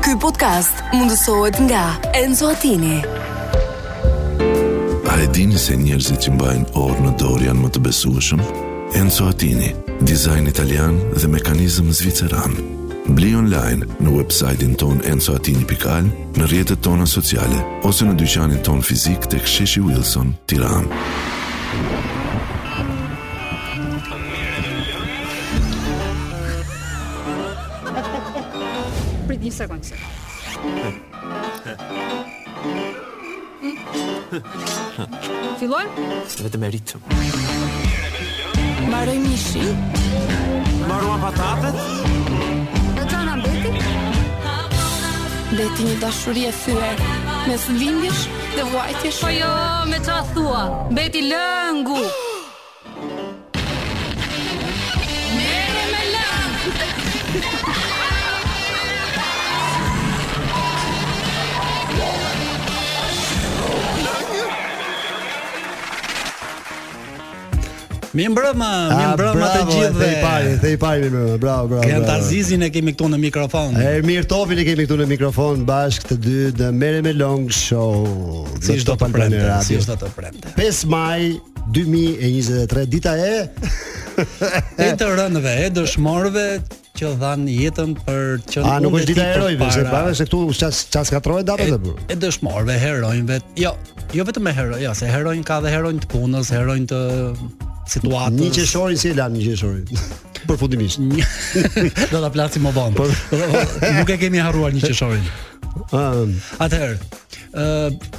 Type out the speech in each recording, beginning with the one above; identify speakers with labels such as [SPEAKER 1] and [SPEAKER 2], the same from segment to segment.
[SPEAKER 1] Ky podcast mundësohet nga Enzo Attini.
[SPEAKER 2] A e dini se njerëzit që mbajnë orë në dorë janë më të besueshëm? Enzo Attini, dizajn italian dhe mekanizëm zviceran. Bli online në website-in ton enzoatini.al, në rjetët tona sociale, ose në dyqanin ton fizik të ksheshi Wilson, tiran.
[SPEAKER 3] Prit një sekund se. Fillojmë?
[SPEAKER 4] vetëm e ritëm.
[SPEAKER 3] Mbaroj mishi.
[SPEAKER 4] Mbaruan patatet?
[SPEAKER 3] E çana beti?
[SPEAKER 5] Beti një dashuri e thyer mes lindjesh dhe vuajtjesh.
[SPEAKER 3] Po jo, me ça thua? Beti lëngu. Merre me lëng.
[SPEAKER 6] Mi mbrëma, mi
[SPEAKER 7] Ah,
[SPEAKER 6] mbrëma të
[SPEAKER 7] bravo,
[SPEAKER 6] gjithëve.
[SPEAKER 7] The i pari, the i pari më. Bravo, bravo.
[SPEAKER 6] Kem
[SPEAKER 7] bravo.
[SPEAKER 6] Tarzizin e kemi këtu në mikrofon.
[SPEAKER 7] Ermir Topin e kemi këtu në mikrofon bashkë të dy në Merre me Long Show.
[SPEAKER 6] Si çdo
[SPEAKER 7] Në
[SPEAKER 6] të
[SPEAKER 7] Top Albania
[SPEAKER 6] premte,
[SPEAKER 7] Radio.
[SPEAKER 6] si çdo të premte.
[SPEAKER 7] 5 maj 2023 dita e
[SPEAKER 6] E të rënëve, e dëshmorëve që dhanë jetën për që
[SPEAKER 7] A Ah, nuk është dita e erojve, se para se këtu ças ças katrohet data
[SPEAKER 6] e,
[SPEAKER 7] apo po.
[SPEAKER 6] e dëshmorëve, herojnëve. Jo, jo vetëm me heroj, jo, se herojnë ka dhe herojnë të punës, herojnë të situatës.
[SPEAKER 7] Një qeshorin si e lan një qeshorin. Përfundimisht.
[SPEAKER 6] Një- do ta flasim më vonë. Nuk e kemi harruar një qeshorin.
[SPEAKER 7] Ëm,
[SPEAKER 6] Atëherë, ë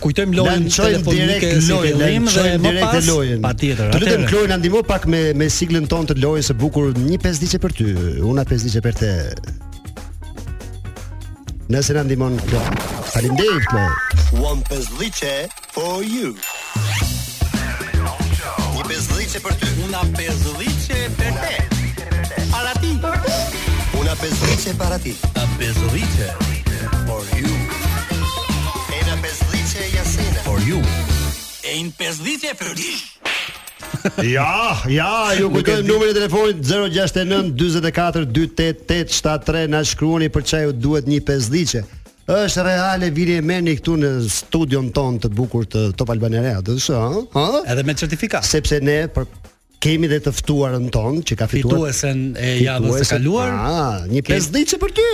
[SPEAKER 6] kujtojmë lojën
[SPEAKER 7] lançojmë direkt
[SPEAKER 6] telefonike si
[SPEAKER 7] lojën,
[SPEAKER 6] fillim dhe
[SPEAKER 7] lançojmë
[SPEAKER 6] më
[SPEAKER 7] direkt
[SPEAKER 6] pas
[SPEAKER 7] lojën.
[SPEAKER 6] patjetër.
[SPEAKER 7] Të lutem
[SPEAKER 6] atëherë.
[SPEAKER 7] Kloj na ndihmo pak me me siglën tonë të lojës së bukur, një pesdiçe për ty, una pesdiçe për te. Nëse na ndihmon Kloj. Faleminderit Kloj.
[SPEAKER 8] One pesdhice for you. Një pesdhice për ty.
[SPEAKER 4] Una bezlliçe për te. Para ti.
[SPEAKER 8] Una pesdhice para ti.
[SPEAKER 4] Una bezlliçe for you.
[SPEAKER 8] Ena pesdhice Jasena.
[SPEAKER 4] For you. E një bezlliçe për ti.
[SPEAKER 7] Ja, ja, ju kujtojmë numrin e telefonit 069 44 288 73 na shkruani për çaj ju duhet një pesdhiçe. Është reale vini e merrni këtu në studion ton të bukur të Top Albania Radio, është, ha? Ha?
[SPEAKER 6] Edhe me certifikat.
[SPEAKER 7] Sepse ne për kemi dhe të ftuarën ton që ka fituar
[SPEAKER 6] Fituesen e javës së
[SPEAKER 7] fituesen-
[SPEAKER 6] kaluar.
[SPEAKER 7] Ah, një
[SPEAKER 6] Kemi-
[SPEAKER 7] pesdhiçe për ty.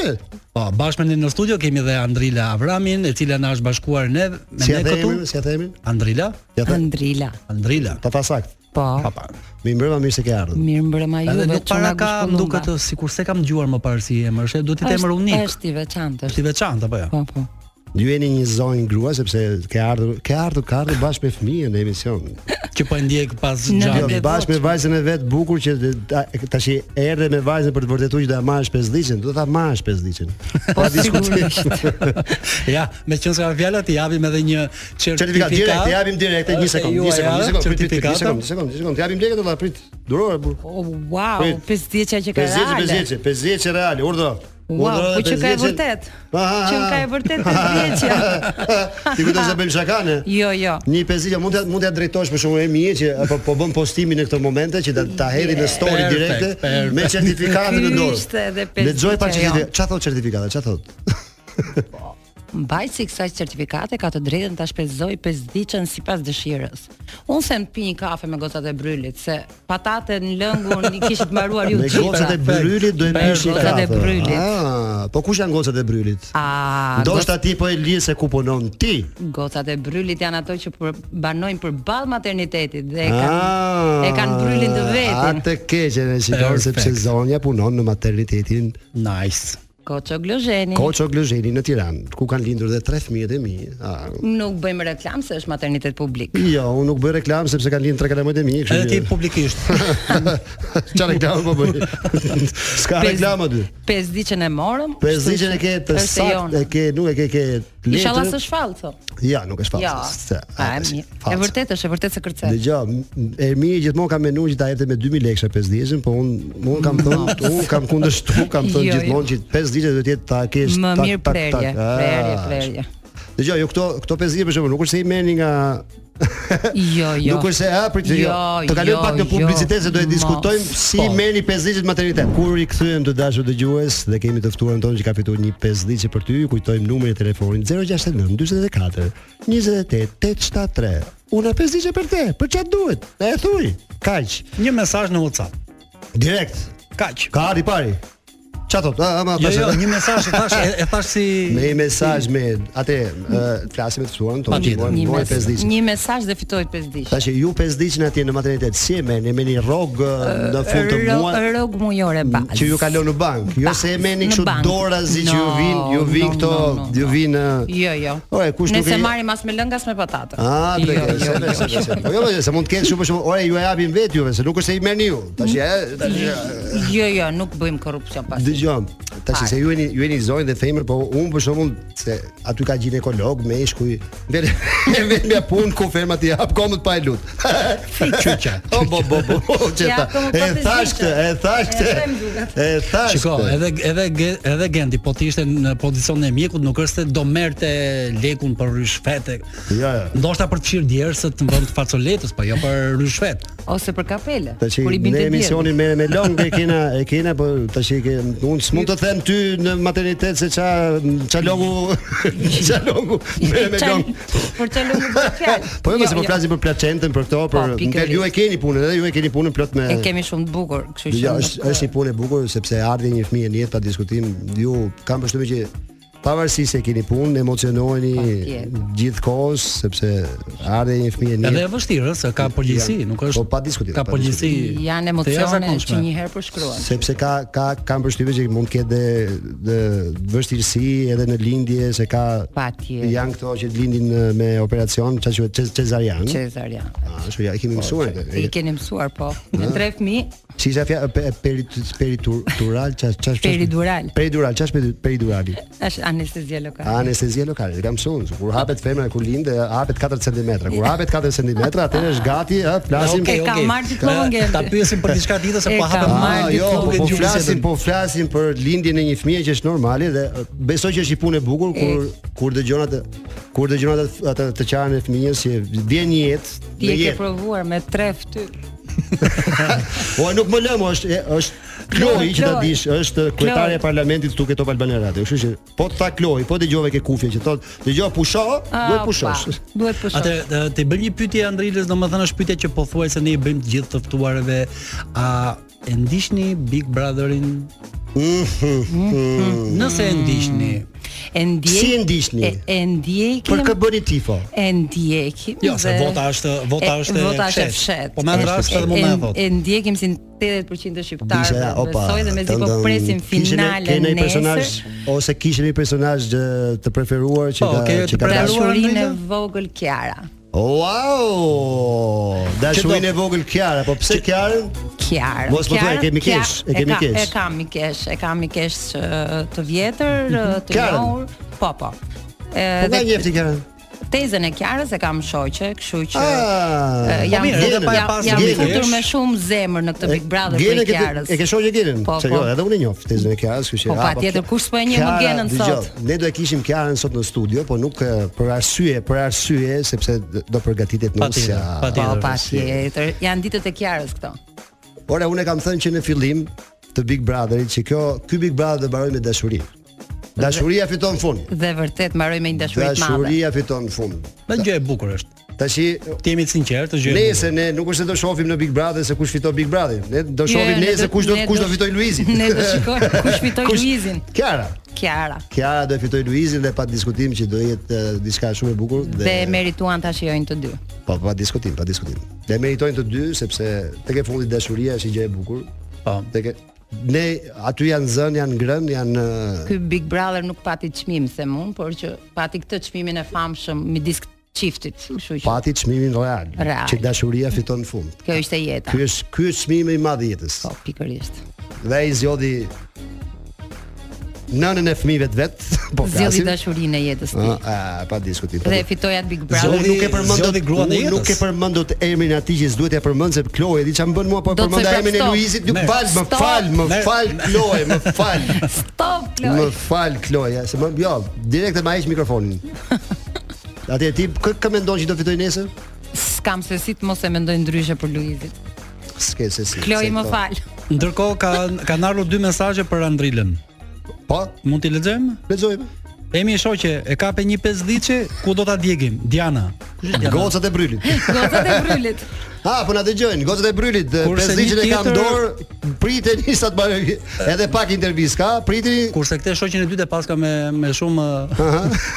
[SPEAKER 6] Po, bashkë me ne në studio kemi dhe Andrila Avramin, e cila na është bashkuar ne me
[SPEAKER 7] Si ja
[SPEAKER 6] ne këtu.
[SPEAKER 7] themin, si ja themin?
[SPEAKER 6] Andrila,
[SPEAKER 7] Ja them.
[SPEAKER 9] Andrila.
[SPEAKER 6] Andrila.
[SPEAKER 7] Ta pa sakt.
[SPEAKER 9] Po.
[SPEAKER 6] Pa pa.
[SPEAKER 7] Mi mbrëma mirë se ke ardhur.
[SPEAKER 9] Mirë mbrëma juve.
[SPEAKER 6] Edhe nuk para ka më duket
[SPEAKER 9] të
[SPEAKER 6] sikur se kam dëgjuar më parë si emër, është duhet të emër unik. Është
[SPEAKER 9] Është i veçantë,
[SPEAKER 6] i
[SPEAKER 9] është.
[SPEAKER 6] veçantë apo jo?
[SPEAKER 9] Po, po.
[SPEAKER 7] Ju jeni një zonjë grua sepse ke ardhur, ke ardhur, ka ardhur bashkë me fëmijën në emision.
[SPEAKER 6] Që po e ndjek pas
[SPEAKER 9] Në
[SPEAKER 6] xhamit.
[SPEAKER 7] Jo,
[SPEAKER 9] Ande
[SPEAKER 7] bashkë me
[SPEAKER 9] voçme.
[SPEAKER 7] vajzën e vet bukur që dhe- ta- tash i erdhe me vajzën për të vërtetuar që do ta marrësh pesdhiçën, do ta marrësh pesdhiçën.
[SPEAKER 9] Po sigurisht.
[SPEAKER 6] Ja, me qënë se ka fjallat, i japim edhe një
[SPEAKER 7] Certifikat
[SPEAKER 6] certifikat. Jo,
[SPEAKER 7] direkt, e japim direkt, një
[SPEAKER 6] Është
[SPEAKER 7] sekond, një
[SPEAKER 6] juaja,
[SPEAKER 7] sekond, një sekond, prit, prit, prit, një
[SPEAKER 6] certifikata.
[SPEAKER 7] sekond, një sekond, një sekond, japim lekët do ta prit. Durore burr.
[SPEAKER 9] Oh, wow,
[SPEAKER 7] Prit.
[SPEAKER 9] 50 që ka
[SPEAKER 7] Pesdhiçë,
[SPEAKER 9] reale.
[SPEAKER 7] pesdhiçë, pesdhiçë reale, urdhro.
[SPEAKER 9] Wow,
[SPEAKER 7] Urdhro,
[SPEAKER 9] po që ka e
[SPEAKER 7] 50.
[SPEAKER 9] vërtet.
[SPEAKER 7] Ah, ah,
[SPEAKER 9] Që
[SPEAKER 7] ah.
[SPEAKER 9] ka e vërtet 50-ja.
[SPEAKER 7] Ti kujtosh se bëjmë shakane?
[SPEAKER 9] Jo, jo.
[SPEAKER 7] Një pesdhiçë mund ta mund ta drejtosh për shkakun e mije që apo po bën postimin në këtë momente që ta, ta hedhi në story
[SPEAKER 6] Perfect,
[SPEAKER 7] direkte
[SPEAKER 6] perfect.
[SPEAKER 7] me certifikatën në dorë.
[SPEAKER 9] Ky ishte edhe pesdhiçja
[SPEAKER 7] Lexoj pak
[SPEAKER 9] jonë.
[SPEAKER 7] certifikatën. Çfarë thot certifikata? Çfarë thot?
[SPEAKER 9] Mbajtësi i kësaj certifikate ka të drejtën ta shpenzoj 5 diçën sipas dëshirës. Unë se në pi një kafe me gocat e brylit, se patate në lëngun i kishit mbaruar ju
[SPEAKER 7] Me
[SPEAKER 9] gjitha.
[SPEAKER 7] gocat e brylit do e
[SPEAKER 6] Perfekt.
[SPEAKER 7] pishin
[SPEAKER 9] Gocat e
[SPEAKER 7] kafe.
[SPEAKER 9] brylit.
[SPEAKER 7] Ah, po kush janë gocat e brylit?
[SPEAKER 9] A,
[SPEAKER 7] Ndoshta ti po e lije se ku punon ti.
[SPEAKER 9] Gocat e brylit janë ato që për, banojnë për balë maternitetit dhe e kanë,
[SPEAKER 7] Ah,
[SPEAKER 9] e kanë brylin të vetin.
[SPEAKER 7] A të keqen e shikon
[SPEAKER 6] Perfekt.
[SPEAKER 7] sepse zonja punon në maternitetin
[SPEAKER 6] Nice.
[SPEAKER 9] Koço Glozheni.
[SPEAKER 7] Koço Glëzheni në Tiranë, ku kanë lindur dhe tre fëmijët e mi. Ah,
[SPEAKER 9] Nuk bëjmë reklam se është maternitet publik.
[SPEAKER 7] jo, unë nuk bëj reklam sepse kanë lindur tre kalamojt e mi,
[SPEAKER 6] Edhe ti po-
[SPEAKER 7] kështu që.
[SPEAKER 6] publikisht.
[SPEAKER 7] Çfarë reklamë po bëj? S'ka
[SPEAKER 9] Pes-
[SPEAKER 7] reklam aty.
[SPEAKER 9] Pesë diçën e morëm.
[SPEAKER 7] Pesë diçën e ke të
[SPEAKER 9] Është
[SPEAKER 7] sakt,
[SPEAKER 9] jona.
[SPEAKER 7] e ke, nuk e ke ke letër.
[SPEAKER 9] Inshallah s'është shfallë thonë.
[SPEAKER 7] Ja, nuk është
[SPEAKER 9] Jo.
[SPEAKER 7] falsë.
[SPEAKER 9] A, e mirë. E vërtet është, e vërtet se kërcen.
[SPEAKER 7] Dëgjoj, Ermiri gjithmonë ka menuar që ta jepte me 2000 lekë pesdhiçën, po un un kam thënë, un kam kundërshtuar, kam
[SPEAKER 9] Jo,
[SPEAKER 7] thënë
[SPEAKER 9] jo.
[SPEAKER 7] gjithmonë që pesdhiçja do të jetë ta kesh
[SPEAKER 9] Më
[SPEAKER 7] tak,
[SPEAKER 9] mirë
[SPEAKER 7] tak, tak.
[SPEAKER 9] prerje,
[SPEAKER 7] Ah,
[SPEAKER 9] prerje, prerje.
[SPEAKER 7] Dgjoj, jo këto këto pesë për shembull, nuk është se i merrni nga
[SPEAKER 9] Jo, jo.
[SPEAKER 7] Nuk është se a prit jo.
[SPEAKER 9] Jo,
[SPEAKER 7] Të kalojmë
[SPEAKER 9] jo,
[SPEAKER 7] pak në
[SPEAKER 9] jo.
[SPEAKER 7] publicitet se do të
[SPEAKER 9] Mos,
[SPEAKER 7] diskutojmë si
[SPEAKER 9] po.
[SPEAKER 7] merrni 50 maternitet. Kur i kthyem të dashur dëgjues dhe kemi të ftuarën tonë që ka fituar një 50 për ty, ju kujtojmë numrin e telefonit 069 44 28 873. Una 50 për te, për çfarë duhet? Na e thuj. Kaq.
[SPEAKER 6] Një mesazh në WhatsApp.
[SPEAKER 7] Direkt.
[SPEAKER 6] Kaq.
[SPEAKER 7] Ka ardhi pari. Çfarë thot? Ah, ama
[SPEAKER 6] Jo,
[SPEAKER 7] tash-
[SPEAKER 6] jo, një mesazh e thash, e, e thash si
[SPEAKER 7] Me i mesazh me atë ë, flasim me të ftuarën tonë.
[SPEAKER 6] Patjetër.
[SPEAKER 7] Një,
[SPEAKER 9] Një,
[SPEAKER 7] një,
[SPEAKER 9] mes,
[SPEAKER 7] 5 ditë.
[SPEAKER 9] një mesazh dhe fitoj 5 ditë.
[SPEAKER 7] Tash ju 5 ditën atje në maternitet si e merrni? E merrni rrog ë, në fund të
[SPEAKER 9] Ro-
[SPEAKER 7] muajit Mm,
[SPEAKER 9] Rog mujore bazë.
[SPEAKER 7] që ju kalon në bank. Jo se e merrni
[SPEAKER 9] në
[SPEAKER 7] kështu
[SPEAKER 9] bank.
[SPEAKER 7] dorazi që ju vin, ju
[SPEAKER 9] No,
[SPEAKER 7] vin
[SPEAKER 9] no,
[SPEAKER 7] këto,
[SPEAKER 9] no, no,
[SPEAKER 7] ju
[SPEAKER 9] no.
[SPEAKER 7] vin ë,
[SPEAKER 9] Jo, jo.
[SPEAKER 7] Ore, kush nuk
[SPEAKER 9] Nëse
[SPEAKER 7] i-
[SPEAKER 9] marrim as me lëngas me patate.
[SPEAKER 7] Ah,
[SPEAKER 9] jo,
[SPEAKER 7] drejtë.
[SPEAKER 9] jo,
[SPEAKER 7] se- se- se- se- Po jo, se mund të ketë shumë për shembull, ore ju e japin vetë juve, se nuk është se i merrni ju. Tash e tash e-
[SPEAKER 9] jo, jo, nuk bëjmë korrupsion pas.
[SPEAKER 7] Dëgjom, tash
[SPEAKER 9] Fare.
[SPEAKER 7] se ju jeni ju jeni zonjë dhe femër, po unë për shembull se aty ka ginekolog me ishkuj, vetë vetëm ja punë ku ferma ti hap gomët pa e lut. Çuça. O bo bo bo, o,
[SPEAKER 9] Ja, po
[SPEAKER 7] qeta.
[SPEAKER 9] komo pa
[SPEAKER 7] E thash këtë, e thash këtë.
[SPEAKER 9] E them duket.
[SPEAKER 7] E thash.
[SPEAKER 6] Shiko,
[SPEAKER 7] këtë.
[SPEAKER 6] edhe edhe ge- edhe Gendi, po ti ishte në pozicionin e mjekut, nuk është se do merrte lekun për ryshfete.
[SPEAKER 7] Jo, jo.
[SPEAKER 6] Ndoshta për të fshirë djersët në vend të facoletës, po jo për ryshfet.
[SPEAKER 9] Ose për kapele.
[SPEAKER 7] Tash
[SPEAKER 9] kur i
[SPEAKER 7] ne
[SPEAKER 9] binte djerë.
[SPEAKER 7] emisionin merre me long e kena e kena po tash e ke- unë s'mund të them ty në maternitet se ça ça longu ça longu merre me
[SPEAKER 9] Qa-
[SPEAKER 7] long.
[SPEAKER 9] Për çfarë lungu bëhet fjalë? Po,
[SPEAKER 7] Po jo, se po flasim për placentën, për këto, për
[SPEAKER 9] pikërisht.
[SPEAKER 7] ju e keni punën, edhe ju e keni punën plot me
[SPEAKER 9] E kemi shumë të bukur, kështu që.
[SPEAKER 7] Ja, është është një punë e bukur sepse ardhi një fëmijë në jetë pa diskutim. Ju kam përshtypjen që pavarësisht se keni punë, emocionoheni
[SPEAKER 9] Patjetër.
[SPEAKER 7] gjithkohës sepse ardhi një fëmijë në
[SPEAKER 6] Edhe
[SPEAKER 7] jetë.
[SPEAKER 6] e vështirë, ëh, se ka përgjegjësi,
[SPEAKER 7] Ja,
[SPEAKER 6] nuk është.
[SPEAKER 7] po, pa diskutim,
[SPEAKER 6] Ka
[SPEAKER 7] pa
[SPEAKER 6] përgjegjësi.
[SPEAKER 9] janë
[SPEAKER 6] të
[SPEAKER 9] emocione
[SPEAKER 6] jashtëzakonshme.
[SPEAKER 9] që një herë përshkruan.
[SPEAKER 7] Sepse ka ka kam përshtypjen që mund të ketë dhe, dhe vështirësi edhe në lindje se ka
[SPEAKER 9] Patjetër.
[SPEAKER 7] janë këto që lindin eh, me operacion, çka quhet ce- cezarian.
[SPEAKER 9] Cezar janë.
[SPEAKER 7] Ah, Ashtu ja, e kemi mësuar.
[SPEAKER 9] I keni mësuar po. Me tre fëmijë
[SPEAKER 7] Si isha fja pe- peri- peritural, çfarë çfarë
[SPEAKER 9] Peridural.
[SPEAKER 7] Peridural, çfarë peridurali?
[SPEAKER 9] është anestezia lokale.
[SPEAKER 7] Anestezia lokale, e kam mësuar. Kur hapet femra kur lindë, hapet 4 cm. Kur hapet 4 cm, atëherë është gati, ë, flasim.
[SPEAKER 9] E ka marrë diplomën Gendi.
[SPEAKER 6] Ta pyesim për diçka tjetër se
[SPEAKER 9] E
[SPEAKER 6] po
[SPEAKER 9] ka
[SPEAKER 6] hapem
[SPEAKER 9] marrë
[SPEAKER 7] Ah, jo, po,
[SPEAKER 9] diplomën.
[SPEAKER 7] po
[SPEAKER 6] Gjuhë
[SPEAKER 7] flasim,
[SPEAKER 6] bisedën.
[SPEAKER 7] po flasim për lindjen e një fëmije që është normale dhe ë, besoj që është një punë e bukur kur kur dëgjon atë kur dëgjon atë atë të qarën e fëmijës që vjen një jetë,
[SPEAKER 9] Ti
[SPEAKER 7] në
[SPEAKER 9] e ke
[SPEAKER 7] jetë.
[SPEAKER 9] provuar me tre fytyrë.
[SPEAKER 7] Po nuk më lëm, është e- është Kloi që ta
[SPEAKER 9] Kloj.
[SPEAKER 7] dish, është kryetare e parlamentit këtu këto Albania Radio. Kështu që po ta Kloi, po dëgjove ke kufje që thotë, dëgjoj pusho, duhet
[SPEAKER 9] Ah,
[SPEAKER 7] pushosh.
[SPEAKER 9] pa, Duhet pushosh.
[SPEAKER 6] Atë e, të bëj një pyetje Andrilës, domethënë është pyetja që pothuajse ne i bëjmë të gjithë të ftuarëve. A e ndiqni Big Brotherin? Nëse e ndiqni.
[SPEAKER 9] E ndjej.
[SPEAKER 7] Si e ndiqni?
[SPEAKER 9] E, e ndjekim.
[SPEAKER 7] Për kë bëni tifo?
[SPEAKER 9] e ndjekim.
[SPEAKER 6] Jo, se
[SPEAKER 9] dhe-
[SPEAKER 6] vota është- vota
[SPEAKER 9] e-
[SPEAKER 6] është e
[SPEAKER 9] vota është e
[SPEAKER 6] fshetë.
[SPEAKER 9] fshetë.
[SPEAKER 6] Po me atë
[SPEAKER 9] E-
[SPEAKER 6] rast edhe
[SPEAKER 9] e-
[SPEAKER 6] mund na e
[SPEAKER 9] e-
[SPEAKER 6] thot.
[SPEAKER 9] E ndjekim si 80% të shqiptarëve.
[SPEAKER 7] ja,
[SPEAKER 9] Besoj dhe mezi po
[SPEAKER 7] tëndën,
[SPEAKER 9] presim
[SPEAKER 7] kishin e-
[SPEAKER 9] finalen
[SPEAKER 7] Ke një personazh
[SPEAKER 9] nesër.
[SPEAKER 7] ose kishin një personazh ë, të preferuar që
[SPEAKER 6] Po,
[SPEAKER 7] ka
[SPEAKER 6] ke
[SPEAKER 7] që
[SPEAKER 6] të
[SPEAKER 7] ka
[SPEAKER 6] preferuar?
[SPEAKER 7] dashur?
[SPEAKER 9] Dashurinë e
[SPEAKER 6] Andrejna?
[SPEAKER 9] vogël Kiara.
[SPEAKER 7] Wow! Dashurinë
[SPEAKER 6] Që
[SPEAKER 7] e vogël Kiara, po pse Kiarën?
[SPEAKER 9] Kiara.
[SPEAKER 7] Mos më thuaj,
[SPEAKER 9] Kiara-
[SPEAKER 7] e kemi kesh, e
[SPEAKER 9] Kiara-
[SPEAKER 7] kemi
[SPEAKER 9] ka-
[SPEAKER 7] kesh.
[SPEAKER 9] E kam i kesh, e kam i kesh ë, të vjetër, ë, të
[SPEAKER 7] Kiarën.
[SPEAKER 9] njohur. Po, po.
[SPEAKER 7] Mhm. Po
[SPEAKER 9] Edhe
[SPEAKER 7] nga njefti Kiarën.
[SPEAKER 9] tezën e Kiarës e kam shoqe, kështu që
[SPEAKER 7] Ah,
[SPEAKER 9] e, jam
[SPEAKER 6] mirë, edhe
[SPEAKER 9] jam,
[SPEAKER 6] pa e
[SPEAKER 9] jam,
[SPEAKER 6] pasur
[SPEAKER 9] jam
[SPEAKER 7] gjenë.
[SPEAKER 9] futur me shumë zemër në këtë Big Brother
[SPEAKER 7] Genën
[SPEAKER 9] për
[SPEAKER 7] ke-
[SPEAKER 9] Kiarës.
[SPEAKER 7] E ke shoqë Genën?
[SPEAKER 9] Po,
[SPEAKER 7] Se
[SPEAKER 9] po.
[SPEAKER 7] jo, edhe unë e njoh tezën e Kiarës, kështu që.
[SPEAKER 9] Po,
[SPEAKER 7] ah,
[SPEAKER 9] patjetër,
[SPEAKER 7] Kia-
[SPEAKER 9] kush s'po e njeh më
[SPEAKER 7] Kiara,
[SPEAKER 9] Genën sot?
[SPEAKER 7] dëgjoj, Ne do e kishim Kiarën sot në studio, po nuk eh, për arsye, për arsye sepse d- do përgatitet
[SPEAKER 6] Patjetër,
[SPEAKER 7] nusja.
[SPEAKER 9] Po,
[SPEAKER 6] patjetër.
[SPEAKER 9] patjetër. Janë ditët e Kiarës këto.
[SPEAKER 7] Ora unë e kam thënë që në fillim të Big Brotherit që kjo ky Big Brother do mbaroj me dashuri. Dashuria fiton fund.
[SPEAKER 9] Dhe vërtet mbaroj me një dashuri të madhe.
[SPEAKER 7] Dashuria fiton fund.
[SPEAKER 6] Në gjë e bukur është.
[SPEAKER 7] Tashi
[SPEAKER 6] Të jemi të sinqertë, është gjë. e bukur.
[SPEAKER 7] Nëse ne nuk është se do shohim në Big Brother se kush fiton Big Brother. Ne do
[SPEAKER 9] Jo,
[SPEAKER 7] po shohim
[SPEAKER 9] ne
[SPEAKER 7] ne
[SPEAKER 9] do-
[SPEAKER 7] se kush do
[SPEAKER 9] ne
[SPEAKER 7] kush do
[SPEAKER 9] do-
[SPEAKER 7] fitoj Luizin.
[SPEAKER 9] ne do shikojmë kush fitoi Luizin.
[SPEAKER 7] Kiara.
[SPEAKER 9] Kiara.
[SPEAKER 7] Kiara do e fitoj Luizin dhe pa diskutim që do jetë eh, diçka shumë e bukur
[SPEAKER 9] Dhe merituan ta shijojnë të dy.
[SPEAKER 7] Po, pa diskutim, pa diskutim. Dhe meritojnë të dy sepse tek e fundit dashuria është një gjë e bukur.
[SPEAKER 6] Po.
[SPEAKER 7] Tek e... ne aty janë zën, janë ngrën, janë
[SPEAKER 9] Ky Big Brother nuk pati çmim se mund, por që pati këtë çmimin e famshëm midis çiftit, kështu që
[SPEAKER 7] pati çmimin real,
[SPEAKER 9] Real.
[SPEAKER 7] që dashuria fiton në fund.
[SPEAKER 9] kjo ishte jeta.
[SPEAKER 7] Ky është ky është çmimi i madh i jetës.
[SPEAKER 9] Po, pikërisht.
[SPEAKER 7] Dhe ai zgjodhi nënën e fëmijëve të vet, po
[SPEAKER 9] Zgjodhi
[SPEAKER 7] flasim.
[SPEAKER 9] dashurinë e jetës
[SPEAKER 7] Ë,
[SPEAKER 9] tij.
[SPEAKER 7] ë, pa diskutim. pa
[SPEAKER 9] Dhe
[SPEAKER 7] diskutim.
[SPEAKER 9] fitoi atë Big
[SPEAKER 7] Unë
[SPEAKER 9] Brother.
[SPEAKER 6] Zgjodhi-
[SPEAKER 7] nuk e përmendot
[SPEAKER 6] zgjodhi gruan e
[SPEAKER 7] unë Nuk e
[SPEAKER 6] jetës.
[SPEAKER 7] përmendot emrin atij që s'duhet ja përmend se Kloe di çam bën mua, po e
[SPEAKER 9] Do të
[SPEAKER 7] përmenda
[SPEAKER 9] thoj prap
[SPEAKER 7] emrin e
[SPEAKER 9] stop.
[SPEAKER 7] Luizit, nuk
[SPEAKER 6] Merë.
[SPEAKER 7] fal, më
[SPEAKER 9] Stop.
[SPEAKER 7] fal, më
[SPEAKER 6] Merë.
[SPEAKER 7] fal Kloe, më fal.
[SPEAKER 9] Stop,
[SPEAKER 7] Më
[SPEAKER 9] Kloj.
[SPEAKER 7] fal Kloja, se më jo, direkt e më heq mikrofonin. Atje ti kë, kë mendon që do fitoj nesër?
[SPEAKER 9] S'kam se si të mos e mendoj ndryshe për Luizit.
[SPEAKER 7] S'ke se si.
[SPEAKER 9] Kloj
[SPEAKER 7] se po.
[SPEAKER 9] më
[SPEAKER 7] këto.
[SPEAKER 9] fal.
[SPEAKER 6] Ndërkohë ka kanë ardhur dy mesazhe për Andrilën.
[SPEAKER 7] Po,
[SPEAKER 6] Mund t'i lexojmë?
[SPEAKER 7] lexojmë.
[SPEAKER 6] Emi e shoqe, e kape një pesdhiçe, ku do ta djegim? Diana. Kush është Diana?
[SPEAKER 7] Gocat e brylit.
[SPEAKER 9] Gocat e brylit.
[SPEAKER 7] Ah, po na dëgjojnë, gocat e brylit,
[SPEAKER 6] Kurse
[SPEAKER 7] pesdhiçën e
[SPEAKER 6] një
[SPEAKER 7] kam
[SPEAKER 6] tjetër-
[SPEAKER 7] dorë, priteni sa të bëj edhe pak intervistë ka, priteni.
[SPEAKER 6] Kurse këtë shoqën e dytë e paska me me shumë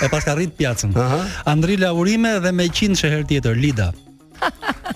[SPEAKER 6] e paska rrit pjacën.
[SPEAKER 7] Aha.
[SPEAKER 6] Andrila Urime dhe me 100 sheher tjetër Lida.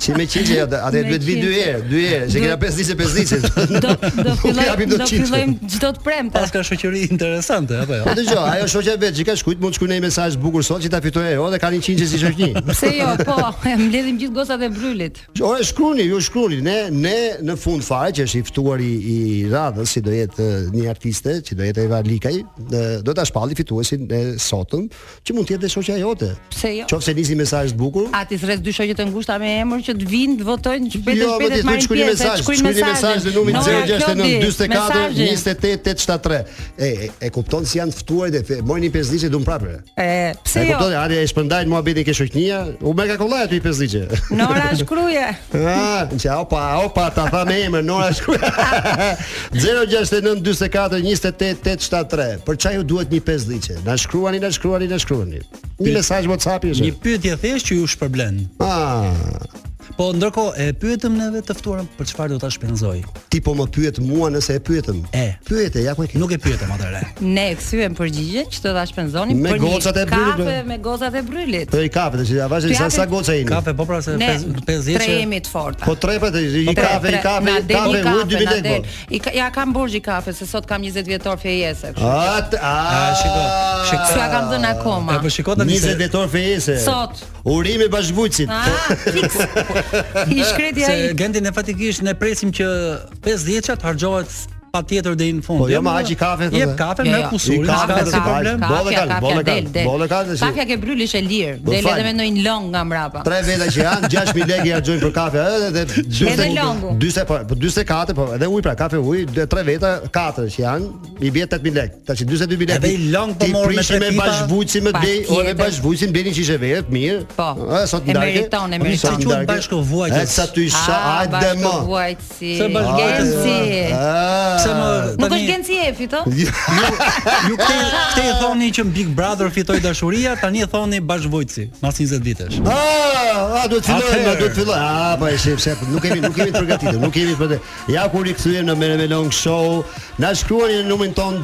[SPEAKER 7] Që me qinë që atë atë
[SPEAKER 9] Me
[SPEAKER 7] duhet vi dy
[SPEAKER 9] qinë.
[SPEAKER 7] herë, dy herë, që kena pesdhiçë pesdhiçë.
[SPEAKER 9] Do do fillojmë
[SPEAKER 7] japim dot
[SPEAKER 9] do
[SPEAKER 7] qitë.
[SPEAKER 9] fillojmë çdo të premte.
[SPEAKER 6] Paska shoqëri interesante apo jo?
[SPEAKER 7] Po dëgjoj, ajo shoqja e vet që ka shkujt, mund të shkruaj një mesazh bukur sot që ta fitoj ajo dhe ka 100 që si shoqni.
[SPEAKER 9] Pse jo, po, e mbledhim gjithë gocat e brylit.
[SPEAKER 7] O e shkruni, ju shkruni, ne ne në fund fare që është i ftuar i, i radhës, si do jetë eh, një artiste, që do jetë Eva Likaj, eh, do ta shpalli fituesin e sotëm, që mund të jetë dhe shoqja jote.
[SPEAKER 9] Pse jo?
[SPEAKER 7] Qofse nisi mesazh të bukur,
[SPEAKER 9] A ti s'rres dy shoqë të ngushta me emër që të vinë, të votojnë, shpetë
[SPEAKER 7] Jo, më
[SPEAKER 9] shpetë të
[SPEAKER 7] ti duhet
[SPEAKER 9] marrin
[SPEAKER 7] shkruaj
[SPEAKER 9] pjesë,
[SPEAKER 7] mesazh,
[SPEAKER 9] të
[SPEAKER 7] shkruaj mesazh në numrin
[SPEAKER 9] Nora,
[SPEAKER 7] 069 44
[SPEAKER 9] Klodi, mesazhe.
[SPEAKER 7] 28 873. E e, e kupton si janë të ftuarit e fe- mojnë një pesdhiçe dum prapë.
[SPEAKER 9] E,
[SPEAKER 7] E
[SPEAKER 9] pse jo?
[SPEAKER 7] kupton, ari e shpërndajnë muhabetin ke shoqënia, u bë ka kollaj aty i pesdhiçe.
[SPEAKER 9] Nora shkruje.
[SPEAKER 7] Ah, që opa, opa, ta tha me emër, nora shkruaj. 069 44 28 873. Për çaj ju duhet një pesdhiçe. Na shkruani, na shkruani, na shkruani. Një mesazh WhatsApp-i
[SPEAKER 6] Një
[SPEAKER 7] është.
[SPEAKER 6] pyetje thjesht që ju shpërblen.
[SPEAKER 7] Ah,
[SPEAKER 6] Po ndërkohë e pyetëm neve të ftuarën për çfarë do ta shpenzoj.
[SPEAKER 7] ti po më pyet mua nëse e pyetëm.
[SPEAKER 6] E.
[SPEAKER 7] Pyete, ja ku e ke.
[SPEAKER 6] Nuk e pyetëm atëre.
[SPEAKER 9] Ne e kthyem përgjigje që do ta shpenzoni
[SPEAKER 7] Me
[SPEAKER 9] për një
[SPEAKER 7] gocat e brylit,
[SPEAKER 9] kafe
[SPEAKER 7] bro.
[SPEAKER 9] me gocat e brylit.
[SPEAKER 7] Po i kafe, tash ja vazhdoj
[SPEAKER 9] Ti
[SPEAKER 7] sa
[SPEAKER 9] japi-
[SPEAKER 7] sa goca jeni.
[SPEAKER 6] Kafe po pra se
[SPEAKER 9] Ne
[SPEAKER 6] 50
[SPEAKER 9] tre jemi të forta.
[SPEAKER 7] Po trepet,
[SPEAKER 9] Tre,
[SPEAKER 7] i kafe, i
[SPEAKER 9] tre.
[SPEAKER 7] kafe,
[SPEAKER 9] Na
[SPEAKER 7] i
[SPEAKER 9] del
[SPEAKER 7] kafe,
[SPEAKER 9] një
[SPEAKER 7] u dy
[SPEAKER 9] na
[SPEAKER 7] bitek
[SPEAKER 9] del.
[SPEAKER 7] po.
[SPEAKER 9] I ka, ja kam borxhi kafe se sot kam 20 vjetor fejese. kështu.
[SPEAKER 7] At, Ah! a,
[SPEAKER 6] A, shiko, shiko.
[SPEAKER 9] S'ua kam dhënë akoma.
[SPEAKER 6] E po shiko tani
[SPEAKER 7] 20
[SPEAKER 6] se
[SPEAKER 7] vjetor fejese.
[SPEAKER 9] Sot.
[SPEAKER 7] Urimi bashkëvujtësit.
[SPEAKER 9] Ah, fix. I shkreti
[SPEAKER 6] se
[SPEAKER 9] ai.
[SPEAKER 6] Gentin ne fatikisht ne presim që 50-çat harxohet patjetër deri në fund.
[SPEAKER 7] Po, jo, ma
[SPEAKER 6] më-
[SPEAKER 7] haqi kafe, thotë.
[SPEAKER 6] Jep kafe me
[SPEAKER 9] Jo, jo.
[SPEAKER 6] kusurin,
[SPEAKER 7] I kafe,
[SPEAKER 6] s'ka
[SPEAKER 7] ka-
[SPEAKER 6] asnjë problem.
[SPEAKER 7] ka- Bolle kal, bolle kal, bolle kal, tash-
[SPEAKER 9] Kafja ke bryl ishte lirë.
[SPEAKER 7] Do
[SPEAKER 9] Del
[SPEAKER 7] fal.
[SPEAKER 9] edhe me ndonjë long nga mbrapa.
[SPEAKER 7] Tre veta që janë, 6000 lekë i harxojnë për kafe, edhe dhe 40
[SPEAKER 9] Edhe longu.
[SPEAKER 7] 40 po, po 44 po, edhe ujë pra, kafe ujë, dhe tre veta, katër që janë, i bie 8000 lekë. Tash 42000 lekë.
[SPEAKER 6] Edhe i long po
[SPEAKER 7] Ti
[SPEAKER 6] morën me
[SPEAKER 7] prishin
[SPEAKER 6] tre
[SPEAKER 7] me
[SPEAKER 6] pipa.
[SPEAKER 7] bashkëvujtësin me blej, o me
[SPEAKER 9] Patjetër.
[SPEAKER 7] bashkëvujtsin bleni qishe verë, mirë.
[SPEAKER 9] Po,
[SPEAKER 7] Ë, sot
[SPEAKER 9] e
[SPEAKER 7] ndarke.
[SPEAKER 9] meriton, e
[SPEAKER 7] Po,
[SPEAKER 9] meriton.
[SPEAKER 7] sot
[SPEAKER 6] Si quhet
[SPEAKER 7] ndarke.
[SPEAKER 6] bashkëvuajtës?
[SPEAKER 7] E, sa ty sha,
[SPEAKER 9] Ah,
[SPEAKER 7] hajde më.
[SPEAKER 9] bashkëvuajtësi.
[SPEAKER 6] Se bashkëvuajtës-
[SPEAKER 9] Genci.
[SPEAKER 7] Ah.
[SPEAKER 6] Pse më
[SPEAKER 9] Nuk
[SPEAKER 6] tani-
[SPEAKER 9] është genci e fito?
[SPEAKER 6] Ju këtë këtë i thoni që në Big Brother fitoi dashuria, tani e thoni bashkëvojtësi mas 20 vitesh.
[SPEAKER 7] Ah, ah, duhet fillojmë,
[SPEAKER 6] Atëherë.
[SPEAKER 7] ah, duhet fillojmë. Ah, po e shef, shef, nuk kemi nuk kemi të përgatitur, nuk kemi për. Ja kur i kthyem në Merë Melong Show, na shkruani në numrin ton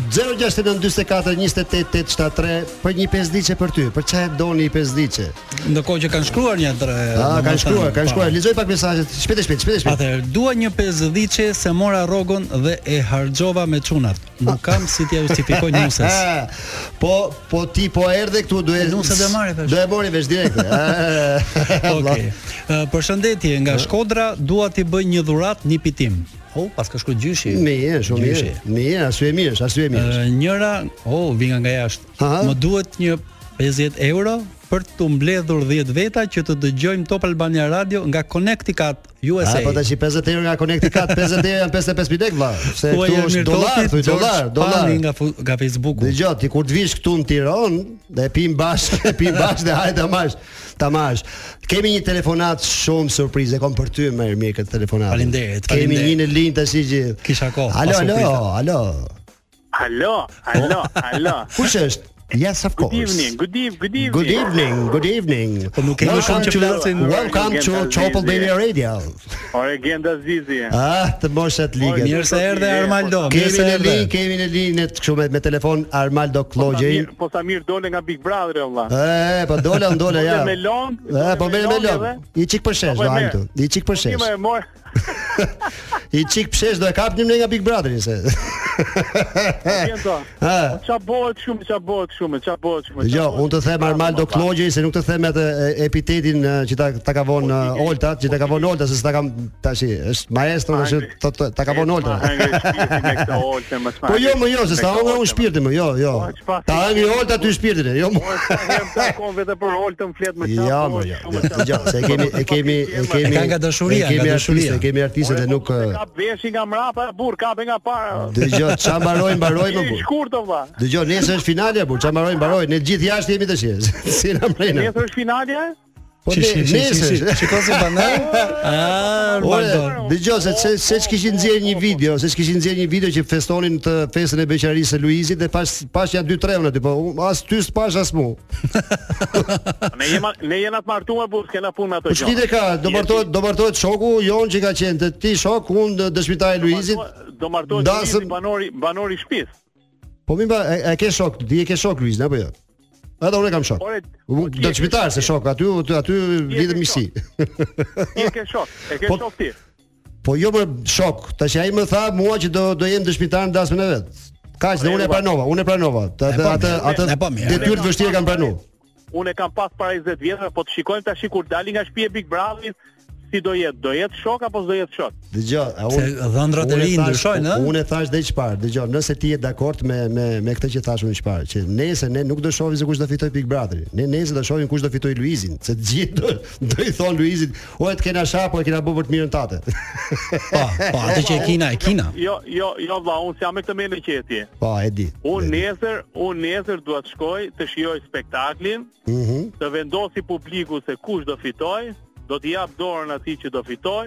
[SPEAKER 7] 0692428873 për një pesdhiçe për ty. Për çfarë doni një pesdhiçe?
[SPEAKER 6] Ndërkohë që kanë shkruar një tre.
[SPEAKER 7] Ah,
[SPEAKER 6] domethënë,
[SPEAKER 7] kanë shkruar, kanë
[SPEAKER 6] pa.
[SPEAKER 7] shkruar. Lexoj pak mesazhet. Shpejt, shpejt, shpejt, shpejt.
[SPEAKER 6] Atëherë, dua një pesdhiçe se mora rrogon dhe e harxova me çunat. Nuk kam si t'ia justifikoj nusës.
[SPEAKER 7] Ah, po po ti po erdhe këtu do e
[SPEAKER 6] Nuse do e marri vesh.
[SPEAKER 7] Do e mori vesh direkt. Ah,
[SPEAKER 6] Okej. Ë, Përshëndetje nga Shkodra, dua t'i bëj një dhuratë, një pitim. O,
[SPEAKER 7] Oh,
[SPEAKER 6] pas ka shku gjyshi.
[SPEAKER 7] Mirë, shumë mirë.
[SPEAKER 6] Gjyshi.
[SPEAKER 7] Mirë, arsye mirë, është, arsye mirë.
[SPEAKER 6] Ë, Njëra, o, vinga nga jashtë.
[SPEAKER 7] Aha.
[SPEAKER 6] Më duhet një 50 euro për të mbledhur 10 veta që të dëgjojmë Top Albania Radio nga Connecticut, USA.
[SPEAKER 7] A po tash i 50 euro nga Connecticut, 50 euro janë 55 lek vlla. Se
[SPEAKER 6] Thuaj
[SPEAKER 7] këtu është
[SPEAKER 6] Ermir
[SPEAKER 7] dollar,
[SPEAKER 6] Totit,
[SPEAKER 7] thuj
[SPEAKER 6] George
[SPEAKER 7] dollar, dollar.
[SPEAKER 6] Pani nga fu- nga Facebooku.
[SPEAKER 7] Dëgjoj, ti kur të vish këtu në Tiranë dhe e pim bashkë, e pim bashkë dhe hajde tamash, tamash. Kemi një telefonat shumë surprizë, e kam për ty më mirë këtë telefonat.
[SPEAKER 6] Faleminderit,
[SPEAKER 7] Kemi
[SPEAKER 6] faleminderit.
[SPEAKER 7] një në linjë tash i gjithë.
[SPEAKER 6] Kisha kohë,
[SPEAKER 7] Alo,
[SPEAKER 6] pa
[SPEAKER 7] alo,
[SPEAKER 6] surprizë.
[SPEAKER 7] alo.
[SPEAKER 10] Hello, hello, hello.
[SPEAKER 7] Kush është? Yes, of course.
[SPEAKER 10] Good evening, good evening, good evening.
[SPEAKER 7] Po, Good evening, good evening.
[SPEAKER 6] Po nuk kemi
[SPEAKER 7] Welcome
[SPEAKER 6] shumë që
[SPEAKER 7] to-
[SPEAKER 6] flasin.
[SPEAKER 7] Welcome to Top Albania Radio.
[SPEAKER 10] Ore Genda Zizi.
[SPEAKER 7] Ah, të moshat ligën.
[SPEAKER 6] Mirë se erdhe Armaldo. Mirë
[SPEAKER 7] Kemi
[SPEAKER 6] se
[SPEAKER 7] në
[SPEAKER 6] erdhe.
[SPEAKER 7] linjë, kemi në linjë në kështu me, me telefon Armaldo Klogjej.
[SPEAKER 10] Po sa mirë dole nga Big Brother e valla.
[SPEAKER 7] E, po dola, dola ja.
[SPEAKER 10] Po me Po, long,
[SPEAKER 7] E, po merr me long. I çik për shesh
[SPEAKER 10] Apo e
[SPEAKER 7] do hajmë
[SPEAKER 10] merr.
[SPEAKER 7] këtu. I çik për
[SPEAKER 10] Ti
[SPEAKER 7] shesh.
[SPEAKER 10] më e mor.
[SPEAKER 7] I çik për shesh do e kapnim ne nga Big Brotheri se. Eh.
[SPEAKER 10] Genda.
[SPEAKER 7] Ha.
[SPEAKER 10] Ça bëhet shumë, ça bëhet shumë, ça bëhet shumë.
[SPEAKER 7] Ah. Jo, unë të
[SPEAKER 10] po,
[SPEAKER 7] them Armaldo Klogjej se nuk të them atë e, epitetin e, që ta ta ka
[SPEAKER 10] Po,
[SPEAKER 7] vonë e, Olta, që ta ka vonë Olta se s'ta kam tash është maestro tash ta- ta- ta ka vonë Olta. Po jo, më jo, se s'ta hëngra unë shpirtin më, jo, jo.
[SPEAKER 10] Po, që pas-
[SPEAKER 7] Ta hëngri Olta ty shpirtin, e, jo. mu.
[SPEAKER 10] Po, Kon vetë për Oltën flet me çfarë.
[SPEAKER 7] Ja, më jo. Jo, se e kemi e kemi e
[SPEAKER 6] E
[SPEAKER 7] kemi
[SPEAKER 6] ka nga dashuria,
[SPEAKER 7] e kemi
[SPEAKER 6] nga
[SPEAKER 7] artiste,
[SPEAKER 6] dashuria.
[SPEAKER 7] e kemi artiste dhe nuk
[SPEAKER 10] Ka veshi nga mrapa, burr, kape nga para.
[SPEAKER 7] dëgjoj ça mbaroj mbaroj më
[SPEAKER 10] I
[SPEAKER 7] burr.
[SPEAKER 10] shkurt valla.
[SPEAKER 7] po. Dëgjoj, nesër është po, finalja burr, ça mbaroj mbaroj, ne gjithë jashtë jemi tash. Si na mrena.
[SPEAKER 10] Nesër është finalja?
[SPEAKER 7] Po
[SPEAKER 6] Shi,
[SPEAKER 7] ne
[SPEAKER 6] shi, shi, shi, shi.
[SPEAKER 7] nesër.
[SPEAKER 6] Shiko si banan. Ah,
[SPEAKER 7] Ore,
[SPEAKER 6] Ronaldo.
[SPEAKER 7] dëgjoj se se se ç'kishin nxjerr një video, se ç'kishin nxjerr një video që festonin të festën e beqarisë së Luizit dhe pas pas janë dy tre unë aty, po u- as ty s'pash as mua.
[SPEAKER 10] Ne jema ne jena të martuar po s'kena punë me ato
[SPEAKER 7] Po ç'lidhe ka? Do martohet do martohet shoku jon që ka qenë të ti shok, unë dë- dëshmitar i Luizit.
[SPEAKER 10] Do martohet
[SPEAKER 7] Dasëm-
[SPEAKER 10] Luizit, banori banori i shtëpisë.
[SPEAKER 7] Po mi ba, e, e ke shok, ti e ke shok Luizin apo jo? Edhe unë kam shok.
[SPEAKER 10] Ore, po
[SPEAKER 7] U-
[SPEAKER 10] ti e
[SPEAKER 7] Do
[SPEAKER 10] ke
[SPEAKER 7] çmitar
[SPEAKER 10] shok,
[SPEAKER 7] se
[SPEAKER 10] ti.
[SPEAKER 7] shok, aty aty, aty lidhet
[SPEAKER 10] ke
[SPEAKER 7] miqësi.
[SPEAKER 10] Ti e ke shok, e ke
[SPEAKER 7] Po-
[SPEAKER 10] shok ti.
[SPEAKER 7] Po jo për shok, tash ai më tha mua që do do jem dëshmitar në dasmën e vet. Kaq, dhe unë e pranova, unë e pranova. Ta-
[SPEAKER 6] E po
[SPEAKER 7] ta- Atë
[SPEAKER 6] mirë,
[SPEAKER 7] atë
[SPEAKER 6] e po mirë.
[SPEAKER 7] detyrë të vështirë kam pranu.
[SPEAKER 10] Unë e kam pas para 20 vjetëve, po të shikojmë tash kur dali nga shtëpia e Big Brotherit si do jetë, do jetë shok apo s'do jetë shok?
[SPEAKER 7] Dëgjoj, a unë
[SPEAKER 6] Se dhëndrat e
[SPEAKER 7] unë
[SPEAKER 6] ri
[SPEAKER 7] thash-
[SPEAKER 6] ndryshojnë, ë?
[SPEAKER 7] Unë e thash dhe çfarë. Dëgjoj, nëse ti je dakord me me me këtë që thash më çfarë, që nesër ne nuk do shohim se kush do fitoj Big Brotherin. Ne nesër do shohim kush do fitoj Luizin, se të gjithë do, do i thon Luizit, "O e të kena shah, po e kena bë për të mirën tate."
[SPEAKER 6] Po, po, atë që e Kina, e Kina.
[SPEAKER 10] Jo, jo, jo vlla, unë s'jam me këtë mendje që je ti.
[SPEAKER 7] po, e di.
[SPEAKER 10] Unë nesër, unë nesër dua të shkoj të shijoj spektaklin,
[SPEAKER 7] Mhm.
[SPEAKER 10] të vendosi publiku se kush do fitoj, do t'i jap dorën atij që do fitoj,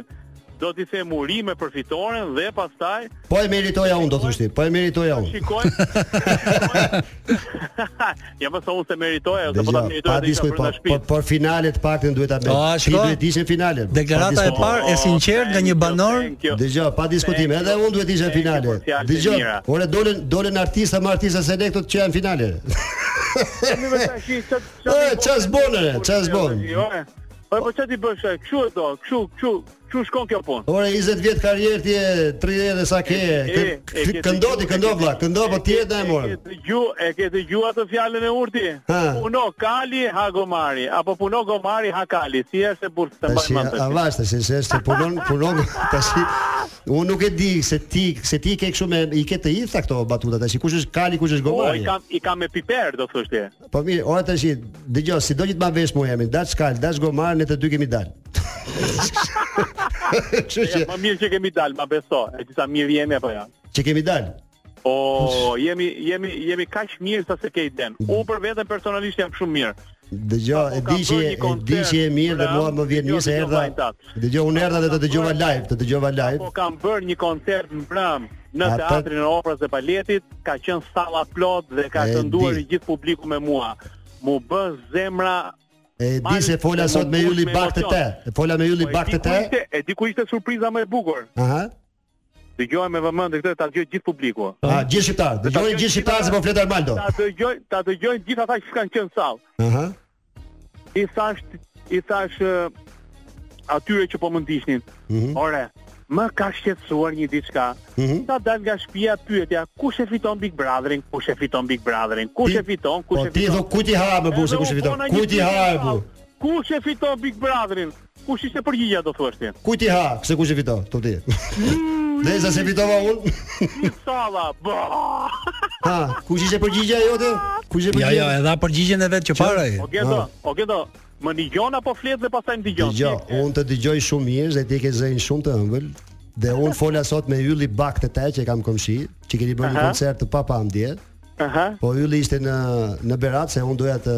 [SPEAKER 10] do t'i them urime për fitoren dhe pastaj
[SPEAKER 7] Po e meritoja unë do thosh ti. Po e meritoja unë.
[SPEAKER 10] shikoj. ja më thonë se meritoja, ose po ta
[SPEAKER 7] Dëgjoj,
[SPEAKER 10] meritoja
[SPEAKER 7] pa
[SPEAKER 10] të isha
[SPEAKER 7] diskuj,
[SPEAKER 10] brenda
[SPEAKER 7] po, po,
[SPEAKER 10] shtëpisë.
[SPEAKER 7] por finalet paktën duhet ta bëj.
[SPEAKER 6] Ah,
[SPEAKER 7] Ti
[SPEAKER 6] shiko?
[SPEAKER 7] duhet të ishe në finale. pa po.
[SPEAKER 6] Deklarata e
[SPEAKER 7] diskutim.
[SPEAKER 6] parë e
[SPEAKER 10] Oh,
[SPEAKER 6] sinqert nga një
[SPEAKER 10] thank you,
[SPEAKER 6] banor.
[SPEAKER 10] thank you.
[SPEAKER 7] Dëgjoj, pa diskutim,
[SPEAKER 10] Thank
[SPEAKER 7] edhe
[SPEAKER 10] you.
[SPEAKER 7] unë duhet isha në
[SPEAKER 10] Thank you
[SPEAKER 7] finale.
[SPEAKER 10] për fjalët e
[SPEAKER 7] Dëgjoj,
[SPEAKER 10] mira.
[SPEAKER 7] ore dolën dolën artista me artista selektët që janë në finale.
[SPEAKER 10] Mi vetë tash, ç'a- ç'a
[SPEAKER 7] E,
[SPEAKER 10] t'i
[SPEAKER 7] ç'a
[SPEAKER 10] bësh?
[SPEAKER 7] s'bon, ore, ç'a s'bon?
[SPEAKER 10] Jo, e. Po po ç'a ti bësh? e? Kshu e do, kshu, kshu, kshu shkon kjo punë.
[SPEAKER 7] Ore 20 vjet karrierë ti e 30 dhe sa ke.
[SPEAKER 10] E, e,
[SPEAKER 7] Kë-
[SPEAKER 10] ke
[SPEAKER 7] kë- Këndo ti,
[SPEAKER 10] dëgju-
[SPEAKER 7] këndo
[SPEAKER 10] e ke-
[SPEAKER 7] vlla, këndo po
[SPEAKER 10] e
[SPEAKER 7] ti
[SPEAKER 10] ke-
[SPEAKER 7] e na e morën.
[SPEAKER 10] E ke dëgju, e ke dëgju atë fjalën e urti.
[SPEAKER 7] Ha.
[SPEAKER 10] Puno Kali ha Gomari, apo puno Gomari ha Kali, si është e burrë të mbaj
[SPEAKER 7] Tash
[SPEAKER 10] mend.
[SPEAKER 7] a vash tash se është punon punon tash unë nuk e di se ti se ti ke kështu me i ke të gjitha këto batuta tash kush është Kali kush është
[SPEAKER 10] O,
[SPEAKER 7] Gomari.
[SPEAKER 10] Po, i kam i kam me piper, do thosh ti.
[SPEAKER 7] Po mirë, ora tash dëgjoj, sido që të ma vesh mua jemi, dash kal, dash gomar, ne të dy kemi dal. Kështu
[SPEAKER 10] Ja,
[SPEAKER 7] që
[SPEAKER 10] Më mirë që kemi dalë, ma beso. E disa mirë jemi apo jo.
[SPEAKER 7] që kemi dal.
[SPEAKER 10] O, jemi jemi jemi kaq mirë sa se ke i den.
[SPEAKER 7] Mm.
[SPEAKER 10] Unë për veten personalisht jam shumë mirë.
[SPEAKER 7] Dëgjoj,
[SPEAKER 10] Po,
[SPEAKER 7] e
[SPEAKER 10] po,
[SPEAKER 7] di
[SPEAKER 10] kam
[SPEAKER 7] që
[SPEAKER 10] bërë
[SPEAKER 7] e
[SPEAKER 10] një
[SPEAKER 7] di
[SPEAKER 10] koncert
[SPEAKER 7] që e mirë dhe
[SPEAKER 10] në
[SPEAKER 7] mua më vjen
[SPEAKER 10] Ram,
[SPEAKER 7] mirë se
[SPEAKER 10] dëgjoj,
[SPEAKER 7] erdha.
[SPEAKER 10] vajtat.
[SPEAKER 7] Dëgjoj, unë erdha dhe të
[SPEAKER 10] Kam
[SPEAKER 7] dëgjova
[SPEAKER 10] bërë-
[SPEAKER 7] live, të dëgjova live.
[SPEAKER 10] Apo Po kam bërë një koncert në Bram në
[SPEAKER 7] Atë-
[SPEAKER 10] teatrin e operës dhe baletit, ka qenë salla plot dhe ka
[SPEAKER 7] E
[SPEAKER 10] kënduar
[SPEAKER 7] di.
[SPEAKER 10] i gjithë publiku me mua. Mu bë zemra
[SPEAKER 7] E di se fola sot me Yuli Bak të te. E Fola me Yuli
[SPEAKER 10] Po, e
[SPEAKER 7] Bak
[SPEAKER 10] di
[SPEAKER 7] të
[SPEAKER 10] ku
[SPEAKER 7] te.
[SPEAKER 10] ishte, e di ku ishte surpriza më e bukur.
[SPEAKER 7] Aha.
[SPEAKER 10] Dëgjoj me vëmendje këtë ta dëgjoj gjithë publiku.
[SPEAKER 7] A, gjithë shqiptar, dëgjoj
[SPEAKER 10] Po. Ta
[SPEAKER 7] gjithë shqiptar se po flet Armando.
[SPEAKER 10] Ta dëgjoj, ta dëgjoj gjithë ata që kanë qenë sallë.
[SPEAKER 7] Aha.
[SPEAKER 10] I thash, i thash ë, atyre që po më ndiqnin. Ore, më ka shqetësuar një diçka.
[SPEAKER 7] Mhm.
[SPEAKER 10] Ta dal nga shtëpia pyetja, kush e fiton Big Brotherin? Kush e fiton Big Brotherin? Kush
[SPEAKER 7] Ti-
[SPEAKER 10] e fiton?
[SPEAKER 7] Po
[SPEAKER 10] Kush e
[SPEAKER 7] ti
[SPEAKER 10] fiton?
[SPEAKER 7] do ku ti ha me
[SPEAKER 10] Edhe
[SPEAKER 7] burse,
[SPEAKER 10] u
[SPEAKER 7] kush e fiton?
[SPEAKER 10] bona një
[SPEAKER 7] Ku ti ha e
[SPEAKER 10] pyetje
[SPEAKER 7] bu?
[SPEAKER 10] sallë. Kush e fiton Big Brotherin? Kush ishte përgjigja do thuash ti?
[SPEAKER 7] Ku ti ha? Kse kush e fiton? Tu ti.
[SPEAKER 10] Mm.
[SPEAKER 7] Dhe sa se fitova unë?
[SPEAKER 10] Ti salla. bra.
[SPEAKER 7] Ha, kush ishte përgjigjja jote? Kush
[SPEAKER 6] Jo,
[SPEAKER 7] ishte përgjigjja?
[SPEAKER 6] jo, edhe a përgjigjen e vet që para. ai.
[SPEAKER 10] O gjeto, o gjeto. Më dëgjon apo flet dhe pastaj më dëgjon.
[SPEAKER 7] Dëgjoj, unë të dëgjoj shumë mirë dhe ti ke zërin shumë të ëmbël. Dhe unë fola sot me Ylli Bak të taj që kam komshi, që keni bërë një
[SPEAKER 10] Aha.
[SPEAKER 7] koncert të papa ndje.
[SPEAKER 10] Aha.
[SPEAKER 7] Po Ylli ishte në në Berat se unë doja të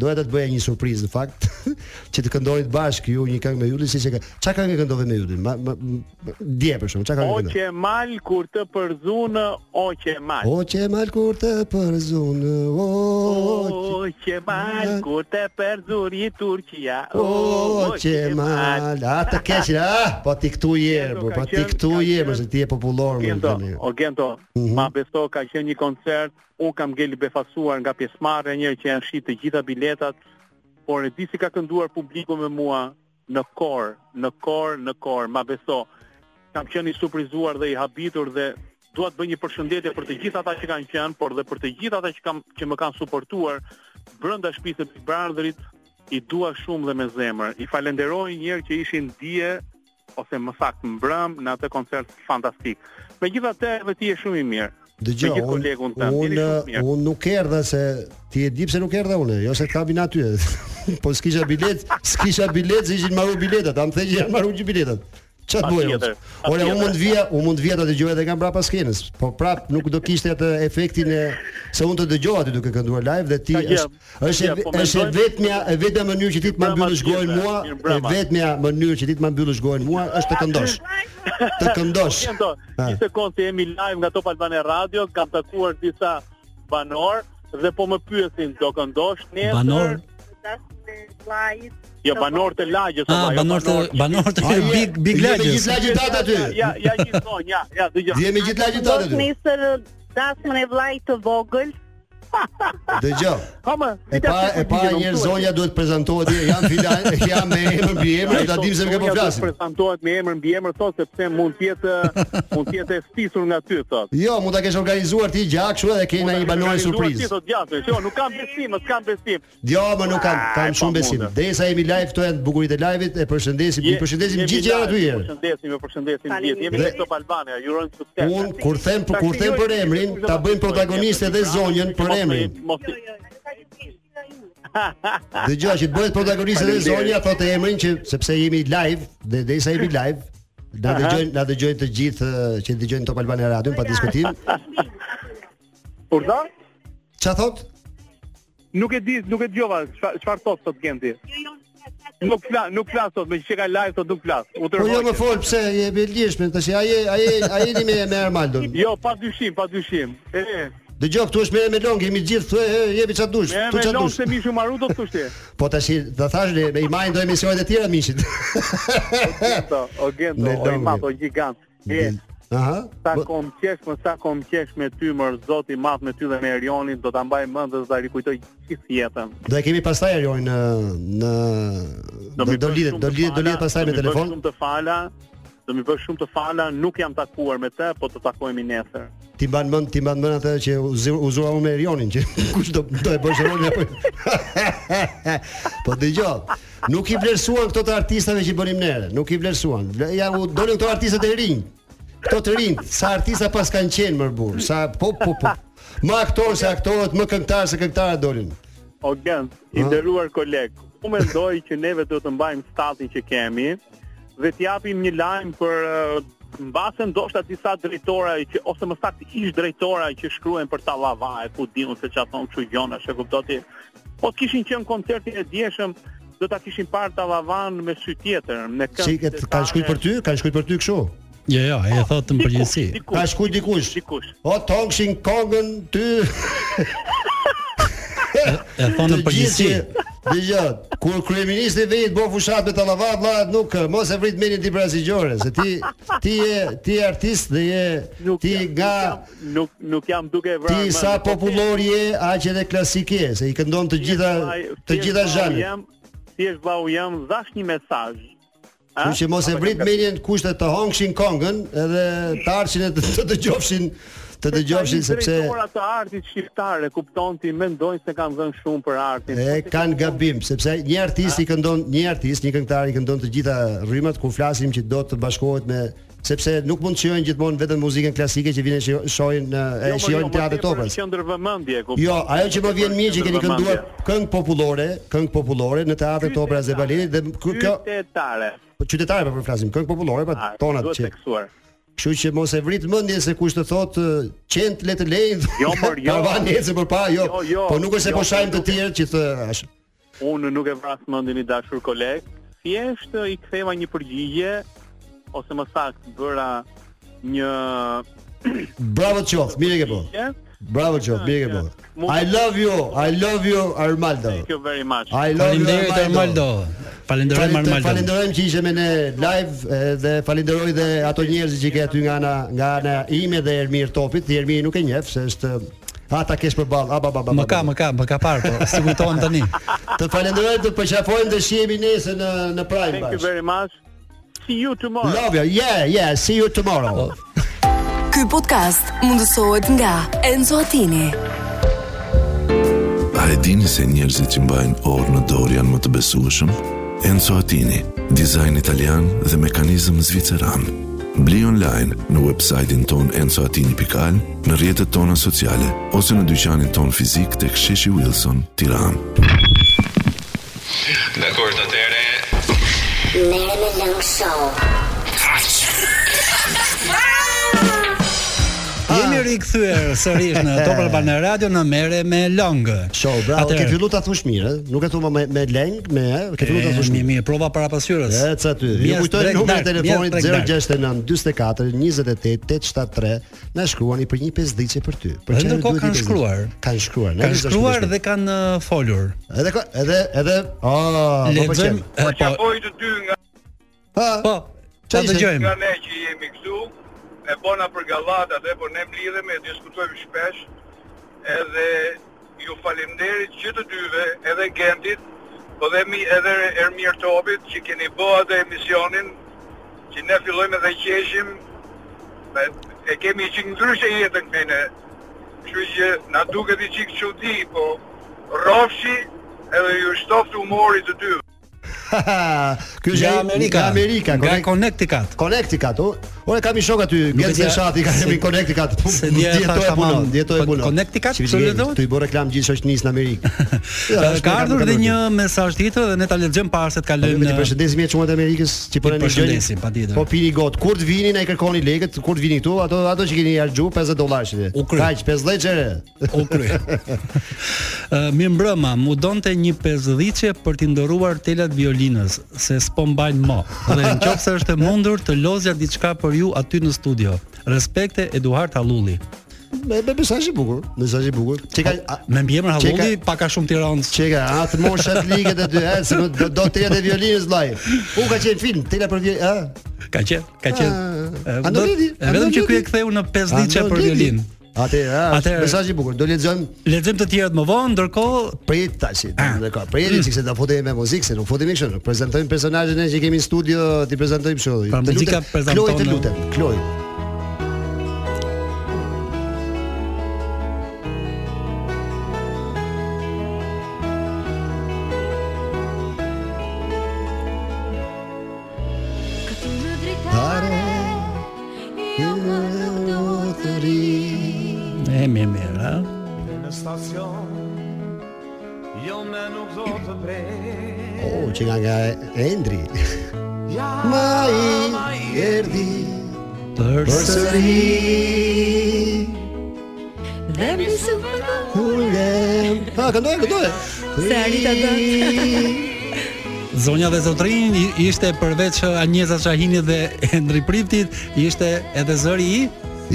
[SPEAKER 7] doja të të bëja një surprizë në fakt, që të këndonit bashkë ju një këngë me Ylli, siç e ka. Çka këngë këndove me Yllin? Ma, ma, ma dje për shkak, çka këngë
[SPEAKER 10] O
[SPEAKER 7] këndove?
[SPEAKER 10] që e mal kur të përzunë, o që e mal.
[SPEAKER 7] O që e mal kur të përzunë, o,
[SPEAKER 10] O që e mal kur të përzuri Turqia.
[SPEAKER 7] O, që e mal, a të keqin, a, po ti këtu je,
[SPEAKER 10] Gento,
[SPEAKER 7] po
[SPEAKER 10] ka
[SPEAKER 7] po ti
[SPEAKER 10] qenë-
[SPEAKER 7] këtu
[SPEAKER 10] ka
[SPEAKER 7] je,
[SPEAKER 10] qenë-
[SPEAKER 7] më se ti je popullor më
[SPEAKER 10] Gento,
[SPEAKER 7] tani.
[SPEAKER 10] o Gento, ma beso ka qenë një koncert, unë kam ngeli befasuar nga pjesëmarrja njërë që janë shit të gjitha biletat, por e di si ka kënduar publiku me mua në kor, në kor, në kor, ma beso. Kam qenë i surprizuar dhe i habitur dhe dua të bëj një përshëndetje për të gjithë ata që kanë qenë, por dhe për të gjithë ata që kam që më kanë suportuar brenda shtëpisë së Big Brotherit, i dua shumë dhe me zemër. I falenderoj njërë që ishin dje ose më saktë më brëm në atë koncert fantastik. Megjithatë, edhe ti je shumë i mirë.
[SPEAKER 7] Dëgjoj,
[SPEAKER 10] me gjithë
[SPEAKER 7] unë
[SPEAKER 10] kolegun tënd, jeni
[SPEAKER 7] unë
[SPEAKER 10] shumë mirë.
[SPEAKER 7] unë nuk erdha se ti e di pse nuk erdha unë, jo se të kamin aty. po s'kisha bilet, s'kisha bilet, se ishin marrë biletat, am thënë që janë marrë gjithë biletat. Ç'a të bëj?
[SPEAKER 10] Patjetër,
[SPEAKER 7] Ora
[SPEAKER 10] patjetër.
[SPEAKER 7] unë mund vija, unë mund vija ta dëgjoj edhe nga mbrapa skenës, po prap nuk do kishte atë efektin e se unë të dëgjoj aty duke kënduar live dhe ti
[SPEAKER 10] Ka gjë,
[SPEAKER 7] është është e-
[SPEAKER 10] gjë, po
[SPEAKER 7] është e
[SPEAKER 10] mendoj-
[SPEAKER 7] vetmja e vetmja mënyrë që ti të më
[SPEAKER 10] Mirë
[SPEAKER 7] mbyllësh
[SPEAKER 10] mbrapa
[SPEAKER 7] gojën
[SPEAKER 10] tjetër,
[SPEAKER 7] mua,
[SPEAKER 10] mirë
[SPEAKER 7] e
[SPEAKER 10] mbrapa.
[SPEAKER 7] vetmja mënyrë që ti të më mbyllësh gojën mua është të këndosh. Të këndosh.
[SPEAKER 10] Po, Jento,
[SPEAKER 7] Ha.
[SPEAKER 10] një sekondë se jemi live nga Top Albane Radio, kam takuar disa banor dhe po më pyesin do këndosh nesër.
[SPEAKER 6] Banor?
[SPEAKER 10] Jo banor të lagjës
[SPEAKER 6] Ah,
[SPEAKER 10] apo jo
[SPEAKER 6] banor të banor të
[SPEAKER 7] Ai,
[SPEAKER 6] Big Big
[SPEAKER 7] je me
[SPEAKER 6] Lagjës.
[SPEAKER 7] gjithë lagjitat aty.
[SPEAKER 10] Ja, ja gjithmonë, ja, ja, dëgjoj.
[SPEAKER 7] Dhe me gjithë lagjitat aty.
[SPEAKER 11] Nesër dasmën e vllajt të vogël,
[SPEAKER 7] Dëgjoj.
[SPEAKER 10] Ha më,
[SPEAKER 7] E
[SPEAKER 10] dita
[SPEAKER 7] pa
[SPEAKER 10] pjesë
[SPEAKER 7] e pa
[SPEAKER 10] mësimit,
[SPEAKER 7] njerëz
[SPEAKER 10] mësuesi.
[SPEAKER 7] zonja duhet prezantohet, jam filan, jam me emër mbi emër, ta dim se më ke po
[SPEAKER 10] Zonja do të
[SPEAKER 7] flasim.
[SPEAKER 10] Prezantohet me emër mbi emër thot sepse mund të jetë mund të jetë e stisur nga ty thot.
[SPEAKER 7] Jo, mund ta kesh organizuar ti gjak kështu edhe kena një banor
[SPEAKER 10] Ti
[SPEAKER 7] surprizë.
[SPEAKER 10] thot gjatë, jo, nuk kam besim, s'kam besim.
[SPEAKER 7] Jo, më nuk kam,
[SPEAKER 10] Ah,
[SPEAKER 7] kam
[SPEAKER 10] e
[SPEAKER 7] shumë besim.
[SPEAKER 10] pamundur.
[SPEAKER 7] Derisa jemi live, këto janë bukuritë e live-it, e përshëndesim, i përshëndesim
[SPEAKER 10] Jemi
[SPEAKER 7] gjithë gjërat
[SPEAKER 10] live,
[SPEAKER 7] dy
[SPEAKER 10] Ju
[SPEAKER 7] herë.
[SPEAKER 10] përshëndesim, ju përshëndesim gjithë. Jemi
[SPEAKER 7] Dhe-
[SPEAKER 10] në Top Albania, ju urojmë sukses.
[SPEAKER 7] Un kur them kur them për emrin, ta bëjmë protagoniste dhe zonjën për emrin. Dëgjoj që të bëhet protagoniste dhe
[SPEAKER 10] Faleminderit.
[SPEAKER 7] zonja thotë emrin që sepse jemi live dhe derisa jemi live, na dëgjojnë, na dëgjojnë të gjithë eh, që dëgjojnë Top Albania Radio pa diskutim.
[SPEAKER 10] Kur do?
[SPEAKER 7] Ç'a thot?
[SPEAKER 10] Nuk e di, nuk e dëgjova çfa- çfarë thot sot Genti. Nuk flas, nuk flas sot, me që ka live sot nuk flas. U
[SPEAKER 7] Po jo
[SPEAKER 10] tërhoqe.
[SPEAKER 7] më fol pse je belgjishme, tash ai ai ai jeni me me Armaldon.
[SPEAKER 10] Jo, pa dyshim, pa dyshim. E,
[SPEAKER 7] Dëgjoj këtu është me me Long, jemi gjithë thë, e, jepi ç'a dush,
[SPEAKER 10] me
[SPEAKER 7] tu
[SPEAKER 10] me
[SPEAKER 7] ç'a
[SPEAKER 10] lonë
[SPEAKER 7] dush.
[SPEAKER 10] se mishu maru do të thushti.
[SPEAKER 7] Po tash ta thash ne me i majnë do emisionet e tjera miqit.
[SPEAKER 10] Gento, o Gento,
[SPEAKER 7] Me
[SPEAKER 10] o i
[SPEAKER 7] Longi.
[SPEAKER 10] madh, o gigant. E,
[SPEAKER 7] Aha.
[SPEAKER 10] Sa
[SPEAKER 7] Bo-
[SPEAKER 10] kom qesh, më sa kom qesh me ty, mër zoti i madh me ty dhe me Erionin, do ta mbaj mend dhe do ta rikujtoj gjithë jetën.
[SPEAKER 7] Do e kemi pastaj Erion në në do
[SPEAKER 10] mi
[SPEAKER 7] do
[SPEAKER 10] bësh
[SPEAKER 7] lidhet
[SPEAKER 10] shumë
[SPEAKER 7] do
[SPEAKER 10] të
[SPEAKER 7] lidhet do
[SPEAKER 10] fala,
[SPEAKER 7] lidhet pastaj
[SPEAKER 10] do
[SPEAKER 7] me
[SPEAKER 10] mi bësh
[SPEAKER 7] telefon.
[SPEAKER 10] Shumë të fala, do mi bësh shumë të fala, nuk jam takuar me të, po të takohemi nesër.
[SPEAKER 7] Ti mban mend ti mban mend atë që u zi- u zura unë me Erionin që kush do do e bësh rolin apo. jo? po dëgjoj, nuk i vlerësuan këto të artistave që bënim nere, nuk i vlerësuan. Vle- Ja u dolën këto artistët e rinj. Këto të rinj, sa artista pas kanë qenë më burr, sa po po po. Më aktorë se aktorët, më këngëtarë se këngëtarët dolin.
[SPEAKER 10] O Gent, i
[SPEAKER 7] Ah.
[SPEAKER 10] nderuar koleg, u mendoj që neve do të mbajmë statin që kemi dhe t'japim një lajm për eh, mbase ndoshta disa drejtora që ose më saktë ish drejtora që shkruajnë për tallava e ku diun se çfarë thon kështu gjona, e kuptoti. Po të kishin qenë koncertin e djeshëm, do ta kishin parë tallavan me sy tjetër, me këngë.
[SPEAKER 7] Çiket
[SPEAKER 10] të
[SPEAKER 7] kanë shkruajtur për ty, kanë shkruajtur për ty kështu.
[SPEAKER 6] Jo, jo, e thotë në përgjithësi.
[SPEAKER 7] Ka shkuj dikush.
[SPEAKER 10] Dikush.
[SPEAKER 7] O tongshin kongën ty.
[SPEAKER 6] E thonë në përgjithësi.
[SPEAKER 7] Dëgjoj, jo, kur kryeministri vjen të bën fushat me tallava, vlla, nuk eh, mos e vrit mendin ti për asgjëre, se ti ti je ti je artist dhe je
[SPEAKER 10] Nuk
[SPEAKER 7] ti
[SPEAKER 10] jam-
[SPEAKER 7] nga
[SPEAKER 10] nuk jam- nuk jam duke e vrarë.
[SPEAKER 7] ti
[SPEAKER 10] mend,
[SPEAKER 7] sa
[SPEAKER 10] po
[SPEAKER 7] popullor je, aq edhe klasik je, se i këndon të gjitha të gjitha zhanet.
[SPEAKER 10] Thjesht vllau jam, dhash një mesazh. A?
[SPEAKER 7] Kështu që mos e
[SPEAKER 10] Apo
[SPEAKER 7] vrit
[SPEAKER 10] kam-
[SPEAKER 7] mendin kushte të hongshin kongën edhe të arshin e të, të dëgjofshin të
[SPEAKER 10] Se
[SPEAKER 7] dëgjofshin
[SPEAKER 10] tani
[SPEAKER 7] sepse
[SPEAKER 10] drejtora të artit shqiptare kupton ti mendojnë se kanë dhënë shumë për artin.
[SPEAKER 7] E kanë gabim, sepse një artist
[SPEAKER 10] Ah.
[SPEAKER 7] i këndon, një artist, një këngëtar i këndon të gjitha rrymat kur flasim që do të bashkohet me sepse nuk mund të shijojnë gjithmonë vetëm muzikën klasike që vjen e shio- shohin e
[SPEAKER 10] Jo, më- jo,
[SPEAKER 7] shijojnë
[SPEAKER 10] më
[SPEAKER 7] teatrin
[SPEAKER 10] tepër
[SPEAKER 7] e operës.
[SPEAKER 10] në Qendër vëmendje, kupton.
[SPEAKER 7] Jo, ajo që më vjen mirë që keni
[SPEAKER 10] Qendër
[SPEAKER 7] kënduar
[SPEAKER 10] vëmendje.
[SPEAKER 7] këngë popullore, këngë popullore në teatrin e operës dhe baletit dhe kë- kjo
[SPEAKER 10] Qytetare.
[SPEAKER 7] po qytetare po flasim, këngë popullore
[SPEAKER 10] A,
[SPEAKER 7] pra tonat
[SPEAKER 10] Ah, duhet
[SPEAKER 7] që.
[SPEAKER 10] theksuar.
[SPEAKER 7] Kështu që mos e vrit mendjen se kush të thotë ë, qent le të lejnë.
[SPEAKER 10] Jo, mor, jo.
[SPEAKER 7] Karavani ecë përpara, jo.
[SPEAKER 10] Jo, jo,
[SPEAKER 7] Po nuk është se
[SPEAKER 10] jo,
[SPEAKER 7] po
[SPEAKER 10] po
[SPEAKER 7] shajmë të
[SPEAKER 10] nuk e-
[SPEAKER 7] tjerë që të ashtu.
[SPEAKER 10] Unë nuk e vras mendin i dashur koleg, thjesht eh, i ktheva një përgjigje ose më saktë bëra një
[SPEAKER 7] Bravo të qoftë, mirë e ke bërë.
[SPEAKER 10] yeah?
[SPEAKER 7] Bravo Qof, mirë ke
[SPEAKER 10] Ja.
[SPEAKER 7] bërë.
[SPEAKER 10] Mund-
[SPEAKER 7] I love you, I love you Armaldo.
[SPEAKER 10] Thank you very much.
[SPEAKER 7] I love you
[SPEAKER 6] Faleminderit Armaldo. Falenderojmë
[SPEAKER 7] Falend-
[SPEAKER 6] Armaldo.
[SPEAKER 7] Falenderojmë që ishe me ne live e, dhe falenderoj dhe ato njerëz që ke aty nga ana nga ana ime dhe Ermir Topit. Ti Ermir nuk e njeh se është Ha ta kesh përballë. A ba ba ba.
[SPEAKER 6] Më
[SPEAKER 7] ba,
[SPEAKER 6] ka,
[SPEAKER 7] ba.
[SPEAKER 6] më ka, më ka parë, po si kujtohem tani. Ah.
[SPEAKER 7] Të falenderoj, të përqafojmë dhe shihemi nesër në në Prime
[SPEAKER 10] Thank you
[SPEAKER 7] Bash.
[SPEAKER 10] very much. See you tomorrow.
[SPEAKER 7] Love you. Yeah, yeah. See you
[SPEAKER 6] Oh,
[SPEAKER 7] tomorrow.
[SPEAKER 1] Ky podcast mundësohet nga Enzo Attini.
[SPEAKER 2] A e dini se njerëzit që mbajnë orë në dorë janë më të besueshëm? Enzo Attini, dizajn italian dhe mekanizëm zviceran. Bli online në websajtin ton enzoatini.al, në rjetët tona sociale, ose në dyqanin ton fizik të ksheshi Wilson, tiran.
[SPEAKER 12] Dakor, atëre.
[SPEAKER 13] Merë me lëngë show.
[SPEAKER 6] i kthyer sërish në Top Albana Radio në merre me long.
[SPEAKER 7] Show, bravo. Ke filluar ta thush mirë, ë? nuk e thua me me leng, me, ë? ke filluar ta thush
[SPEAKER 6] mirë. Mirë, prova para pasyrës.
[SPEAKER 7] Ec aty. Ju kujtoj numrin e telefonit 069 44 28 873. Na shkruani për një pesdhiçe për ty. Për
[SPEAKER 6] çfarë duhet kanë shkruar?
[SPEAKER 7] Kanë shkruar,
[SPEAKER 6] Kanë shkruar dhe kanë uh, folur.
[SPEAKER 7] Edhe edhe edhe oh,
[SPEAKER 6] po pëlqen.
[SPEAKER 12] Po çapoj të dy nga
[SPEAKER 6] Po.
[SPEAKER 12] Ta
[SPEAKER 6] dëgjojmë.
[SPEAKER 12] Nga ne që jemi këtu, e bona për gallata dhe po ne mlidhemi e diskutojmë shpesh. Edhe ju falemnderit që të dyve, edhe Gentit, po dhe mi edhe Ermir Topit që keni bërë atë emisionin që ne fillojmë dhe qeshim dhe e kemi çik ndryshe jetën këtu ne. Kështu që na duket i çik çudi, po rrofshi edhe ju shtoft humori të dyve.
[SPEAKER 7] Ky është
[SPEAKER 6] Nga Amerika.
[SPEAKER 7] Nga Amerika,
[SPEAKER 6] Nga Connecticut.
[SPEAKER 7] Connecticut, o. Ore kam i shok aty,
[SPEAKER 6] Nuk e
[SPEAKER 7] Gjergj
[SPEAKER 6] dia-
[SPEAKER 7] Shati ka
[SPEAKER 6] se-
[SPEAKER 7] kemi Connecticut.
[SPEAKER 6] se dia e
[SPEAKER 7] Dietoj
[SPEAKER 6] thash
[SPEAKER 7] e punon,
[SPEAKER 6] tamam.
[SPEAKER 7] dietoj e
[SPEAKER 6] Po,
[SPEAKER 7] punon.
[SPEAKER 6] Connecticut,
[SPEAKER 7] Që
[SPEAKER 6] çfarë
[SPEAKER 7] vjen-
[SPEAKER 6] lexova?
[SPEAKER 7] Tu i bërë reklam gjithë shoqënisë në Amerikë.
[SPEAKER 6] Ka, ka ardhur dhe një mesazh tjetër dhe ne ta lexojmë para se të kalojmë
[SPEAKER 7] Në
[SPEAKER 6] në
[SPEAKER 7] përshëndesim e çmuat e Amerikës që po
[SPEAKER 6] Ti
[SPEAKER 7] na ndiqni.
[SPEAKER 6] përshëndesim, patjetër.
[SPEAKER 7] Po pini got. Kur të vini na i kërkoni lekët, kur të vini këtu, ato ato që keni harxhu 50 dollarë që.
[SPEAKER 6] kry.
[SPEAKER 7] Kaq 50 çere.
[SPEAKER 6] U kry. Ë, Mi mbrëma, mu donte një pesdhiçe për t'i ndëruar telat violinës, se s'po mbajnë më. Dhe në qoftë se është e mundur të lozja diçka për ju aty në studio. Respekte Eduard Hallulli.
[SPEAKER 7] Me me mesazh i bukur, mesazh i bukur. Çeka
[SPEAKER 6] Po, me mbiemër
[SPEAKER 7] Çe ka-
[SPEAKER 6] Hallulli pak a shumë Tiranës.
[SPEAKER 7] Çeka, atë moshat ligët e dy, e, se do do, do telat e violinës vllai. U ka qenë film, tela për violinës, ë.
[SPEAKER 6] Ka qenë, ka qenë.
[SPEAKER 7] Ah,
[SPEAKER 6] Ë, do-
[SPEAKER 7] Andolidi,
[SPEAKER 6] e Vetëm që ky e
[SPEAKER 7] Andolidi.
[SPEAKER 6] ktheu në pesdhiçe për
[SPEAKER 7] Andolidi.
[SPEAKER 6] violin.
[SPEAKER 7] Atëherë, ah,
[SPEAKER 6] Atëherë-
[SPEAKER 7] mesazh i bukur. Do lexojmë
[SPEAKER 6] Lexojmë të tjerët më vonë, ndërkohë
[SPEAKER 7] prit tash.
[SPEAKER 6] Ah.
[SPEAKER 7] Dhe ka.
[SPEAKER 6] Mm.
[SPEAKER 7] Prit që se do futemi me muzikë, se nuk futemi kështu. Prezantojmë personazhin e që kemi në studio, ti prezantojmë kështu.
[SPEAKER 6] Pra,
[SPEAKER 7] Të
[SPEAKER 6] muzika
[SPEAKER 7] lutem,
[SPEAKER 6] prezanton- eh.
[SPEAKER 7] Kloj, të lutem, Kloj.
[SPEAKER 3] Tare
[SPEAKER 7] Jo më nuk do të ri
[SPEAKER 6] E mirë mirë, ha?
[SPEAKER 4] Në stacion Jo me nuk do të prej
[SPEAKER 7] Oh, që nga nga Endri. Ma i erdi përsëri
[SPEAKER 3] Dhe mi së përdo
[SPEAKER 7] ulem. Ha, këndoj, këndoj.
[SPEAKER 3] Se Arita
[SPEAKER 6] Zonja dhe Zotrin i- ishte përveç Anjeza Shahinit dhe Endri Priptit, ishte edhe zëri i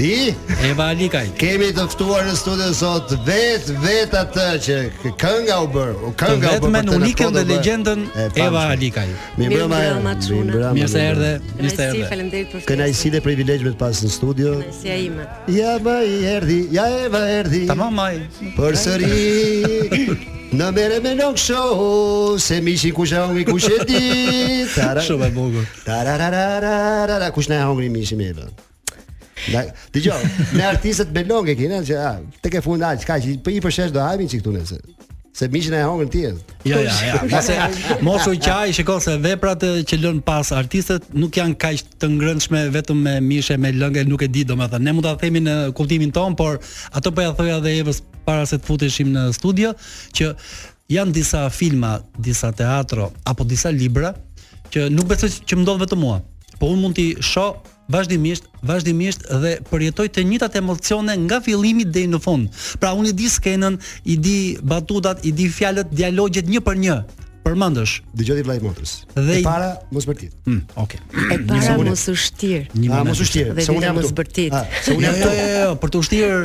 [SPEAKER 7] I
[SPEAKER 6] Eva Alikaj.
[SPEAKER 7] Kemi të ftuar në studio sot vet vet atë që k- kënga u bër, u
[SPEAKER 6] po,
[SPEAKER 7] kënga u bër.
[SPEAKER 6] vetmen unikën dhe legjendën Eva Alikaj.
[SPEAKER 7] Mirëmbrëma.
[SPEAKER 13] Mirëmbrëma, Çuna.
[SPEAKER 6] Mirë se erdhe, mirë se
[SPEAKER 13] Mirësi,
[SPEAKER 6] erdhe.
[SPEAKER 13] faleminderit për
[SPEAKER 7] Kënaqësi dhe privilegj me të pas në studio.
[SPEAKER 13] Si ime.
[SPEAKER 7] Ja ma i erdi, ja Eva erdi.
[SPEAKER 6] Tamam ai.
[SPEAKER 7] Përsëri Në mere me nuk shohu Se mishin kush e hongri kush e di Tara-
[SPEAKER 6] Shumë e bukur.
[SPEAKER 7] Tarararararara Kush ne e hongri mishin me Eva Na, dëgjoj, ne artistët belonge kina që a, tek e fund aq, kaq, po i përshesh do hajmin çik këtu nëse. Se mishin e hongën ti.
[SPEAKER 6] Ja, Jo, ja, ja. Mos e mos u qaj, shikoj se veprat e, që lën pas artistët nuk janë kaq të ngrëndshme vetëm me mishe, me lëngë, nuk e di domethënë. Ne mund ta themi në kuptimin ton, por ato po ja thoja edhe Evës para se të futeshim në studio që janë disa filma, disa teatro apo disa libra që nuk besoj që më ndodh vetëm mua. Po unë mund t'i shoh vazhdimisht, vazhdimisht dhe përjetoj të njëjtat emocione nga fillimi deri në fund. Pra unë i di skenën, i di batutat, i di fjalët, dialogjet një për një. Përmendesh.
[SPEAKER 7] Dëgjoj ti vllai motrës.
[SPEAKER 6] Dhe
[SPEAKER 7] E
[SPEAKER 6] i-
[SPEAKER 7] para mos përtit.
[SPEAKER 6] Mm, okay.
[SPEAKER 13] E para Pra, mos u shtir.
[SPEAKER 6] Një
[SPEAKER 7] A
[SPEAKER 6] moment.
[SPEAKER 7] Ah, mos u shtirë,
[SPEAKER 13] Dhe
[SPEAKER 7] se unë
[SPEAKER 13] dita
[SPEAKER 7] jam
[SPEAKER 13] mos
[SPEAKER 7] këtu.
[SPEAKER 13] bërtit.
[SPEAKER 7] Ah, Se unë jam
[SPEAKER 6] Jo,
[SPEAKER 7] këtu.
[SPEAKER 6] jo, jo, për të ushtirë,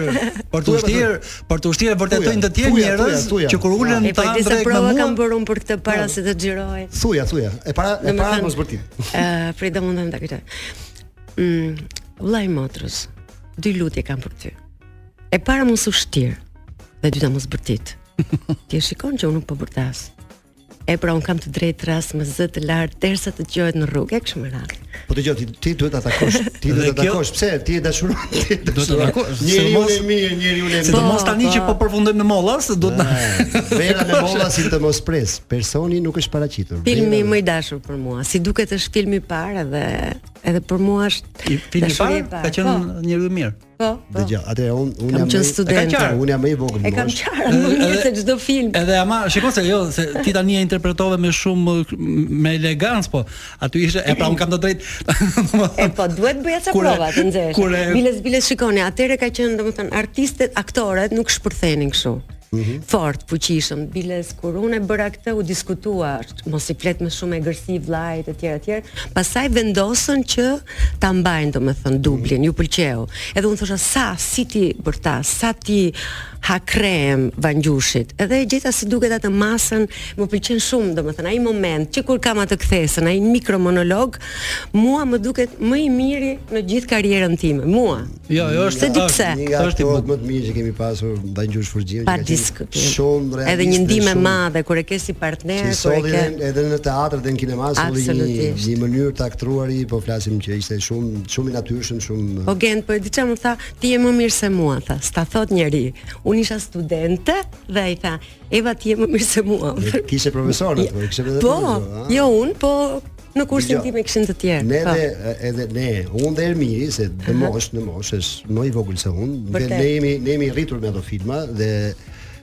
[SPEAKER 6] për të
[SPEAKER 7] Thuja,
[SPEAKER 6] ushtirë, për të ushtirë vërtetojnë të tjerë
[SPEAKER 7] thuja, thuja,
[SPEAKER 6] njerëz
[SPEAKER 7] thuja.
[SPEAKER 6] që kur ulën
[SPEAKER 13] E po
[SPEAKER 6] ta
[SPEAKER 13] disa
[SPEAKER 6] ndrek me
[SPEAKER 13] prova kam
[SPEAKER 6] mua.
[SPEAKER 13] bërë unë për këtë para se të xhiroj.
[SPEAKER 7] Thuja, thuja. E para e para mos bërtit.
[SPEAKER 13] Ë, prej do mundem ta kujtoj. Mm, vllai motrës, dy lutje kam për ty. E para mos u shtir dhe dyta mos bërtit. Ti e shikon që unë nuk po bërtas. E pra unë kam të drejtë rast me zë të lartë derisa të dëgjohet në rrugë e kështu me radhë.
[SPEAKER 7] Po dëgjoj ti ti duhet ta takosh, ti
[SPEAKER 6] Dhe
[SPEAKER 7] duhet ta
[SPEAKER 6] kjo-
[SPEAKER 7] takosh. Pse? Ti je dashuron.
[SPEAKER 6] Duhet të takosh,
[SPEAKER 7] Njeriu
[SPEAKER 6] sidomos-
[SPEAKER 7] e mirë, njeriu e mirë.
[SPEAKER 6] Sidomos tani që po përfundojmë në mollas, duhet na
[SPEAKER 7] Vera në bolla si të mos pres. Personi nuk është paraqitur.
[SPEAKER 13] Filmi më i dashur për mua, si duket është filmi i parë dhe edhe për mua është
[SPEAKER 6] I Fili
[SPEAKER 13] dashuri
[SPEAKER 6] Far
[SPEAKER 13] e parë.
[SPEAKER 6] ka qenë njeriu i mirë.
[SPEAKER 13] Po, po.
[SPEAKER 7] Dëgjoj, atë un un
[SPEAKER 13] Kam
[SPEAKER 7] jam
[SPEAKER 13] qenë
[SPEAKER 7] i-
[SPEAKER 13] student.
[SPEAKER 7] E kam qarë, un jam më i vogël.
[SPEAKER 13] E kam
[SPEAKER 7] mosh.
[SPEAKER 13] qarë, më mirë se çdo film.
[SPEAKER 6] Edhe ama, shikoj se jo, se ti tani e interpretove me shumë me elegancë, po aty ishte e pra un kam të drejtë.
[SPEAKER 13] E po, duhet bëja ca
[SPEAKER 6] Kur e-
[SPEAKER 13] prova të nxesh.
[SPEAKER 6] kur e-
[SPEAKER 13] Biles biles shikoni, atëre ka qenë domethënë artistet, aktorët nuk shpërthenin kështu.
[SPEAKER 6] Mhm.
[SPEAKER 13] Fort, fuqishëm, biles kur unë e bëra këtë u diskutua, mos i flet më shumë e gërsi vllajt e tjerë e tjerë. Pastaj vendosën që ta mbajnë domethënë dublin, ju pëlqeu. Edhe unë thosha sa si ti bërta, sa ti ha krem vanjushit. Edhe e gjeta si duket atë masën, më pëlqen shumë domethënë ai moment që kur kam atë kthesën, ai mikro monolog, mua më duket më i miri në gjithë karrierën time. Mua.
[SPEAKER 6] Jo, jo,
[SPEAKER 13] Se di pse.
[SPEAKER 7] Një nga aktorët më të mirë që kemi pasur Banjush Furgjim.
[SPEAKER 13] Pa diskutim.
[SPEAKER 7] Shumë realist.
[SPEAKER 13] Edhe një ndihmë e madhe kur e ke si partner,
[SPEAKER 7] Që i
[SPEAKER 13] kur e
[SPEAKER 7] solli
[SPEAKER 13] ke.
[SPEAKER 7] edhe- edhe në teatr dhe në kinema solli një,
[SPEAKER 13] Absolutisht.
[SPEAKER 7] një mënyrë të aktruari, po flasim që ishte shumë shumë i natyrshëm, shumë
[SPEAKER 13] Po Gent, po e di çfarë më tha, ti je më mirë se mua, tha. S'ta thot njeri. Unë isha studente dhe ai tha, Eva ti je më mirë se mua.
[SPEAKER 7] Dhe Kishte profesor atë, kishte edhe
[SPEAKER 13] Po,
[SPEAKER 7] profesor, a?
[SPEAKER 13] jo unë, po në kursin
[SPEAKER 7] Dgjoj.
[SPEAKER 13] tim e kishin të tjerë.
[SPEAKER 7] Ne
[SPEAKER 13] po.
[SPEAKER 7] edhe edhe ne, unë dhe Ermiri se në mosh, në mosh është më i vogël se unë, dhe
[SPEAKER 13] Vërtet.
[SPEAKER 7] ne jemi ne jemi rritur me ato filma dhe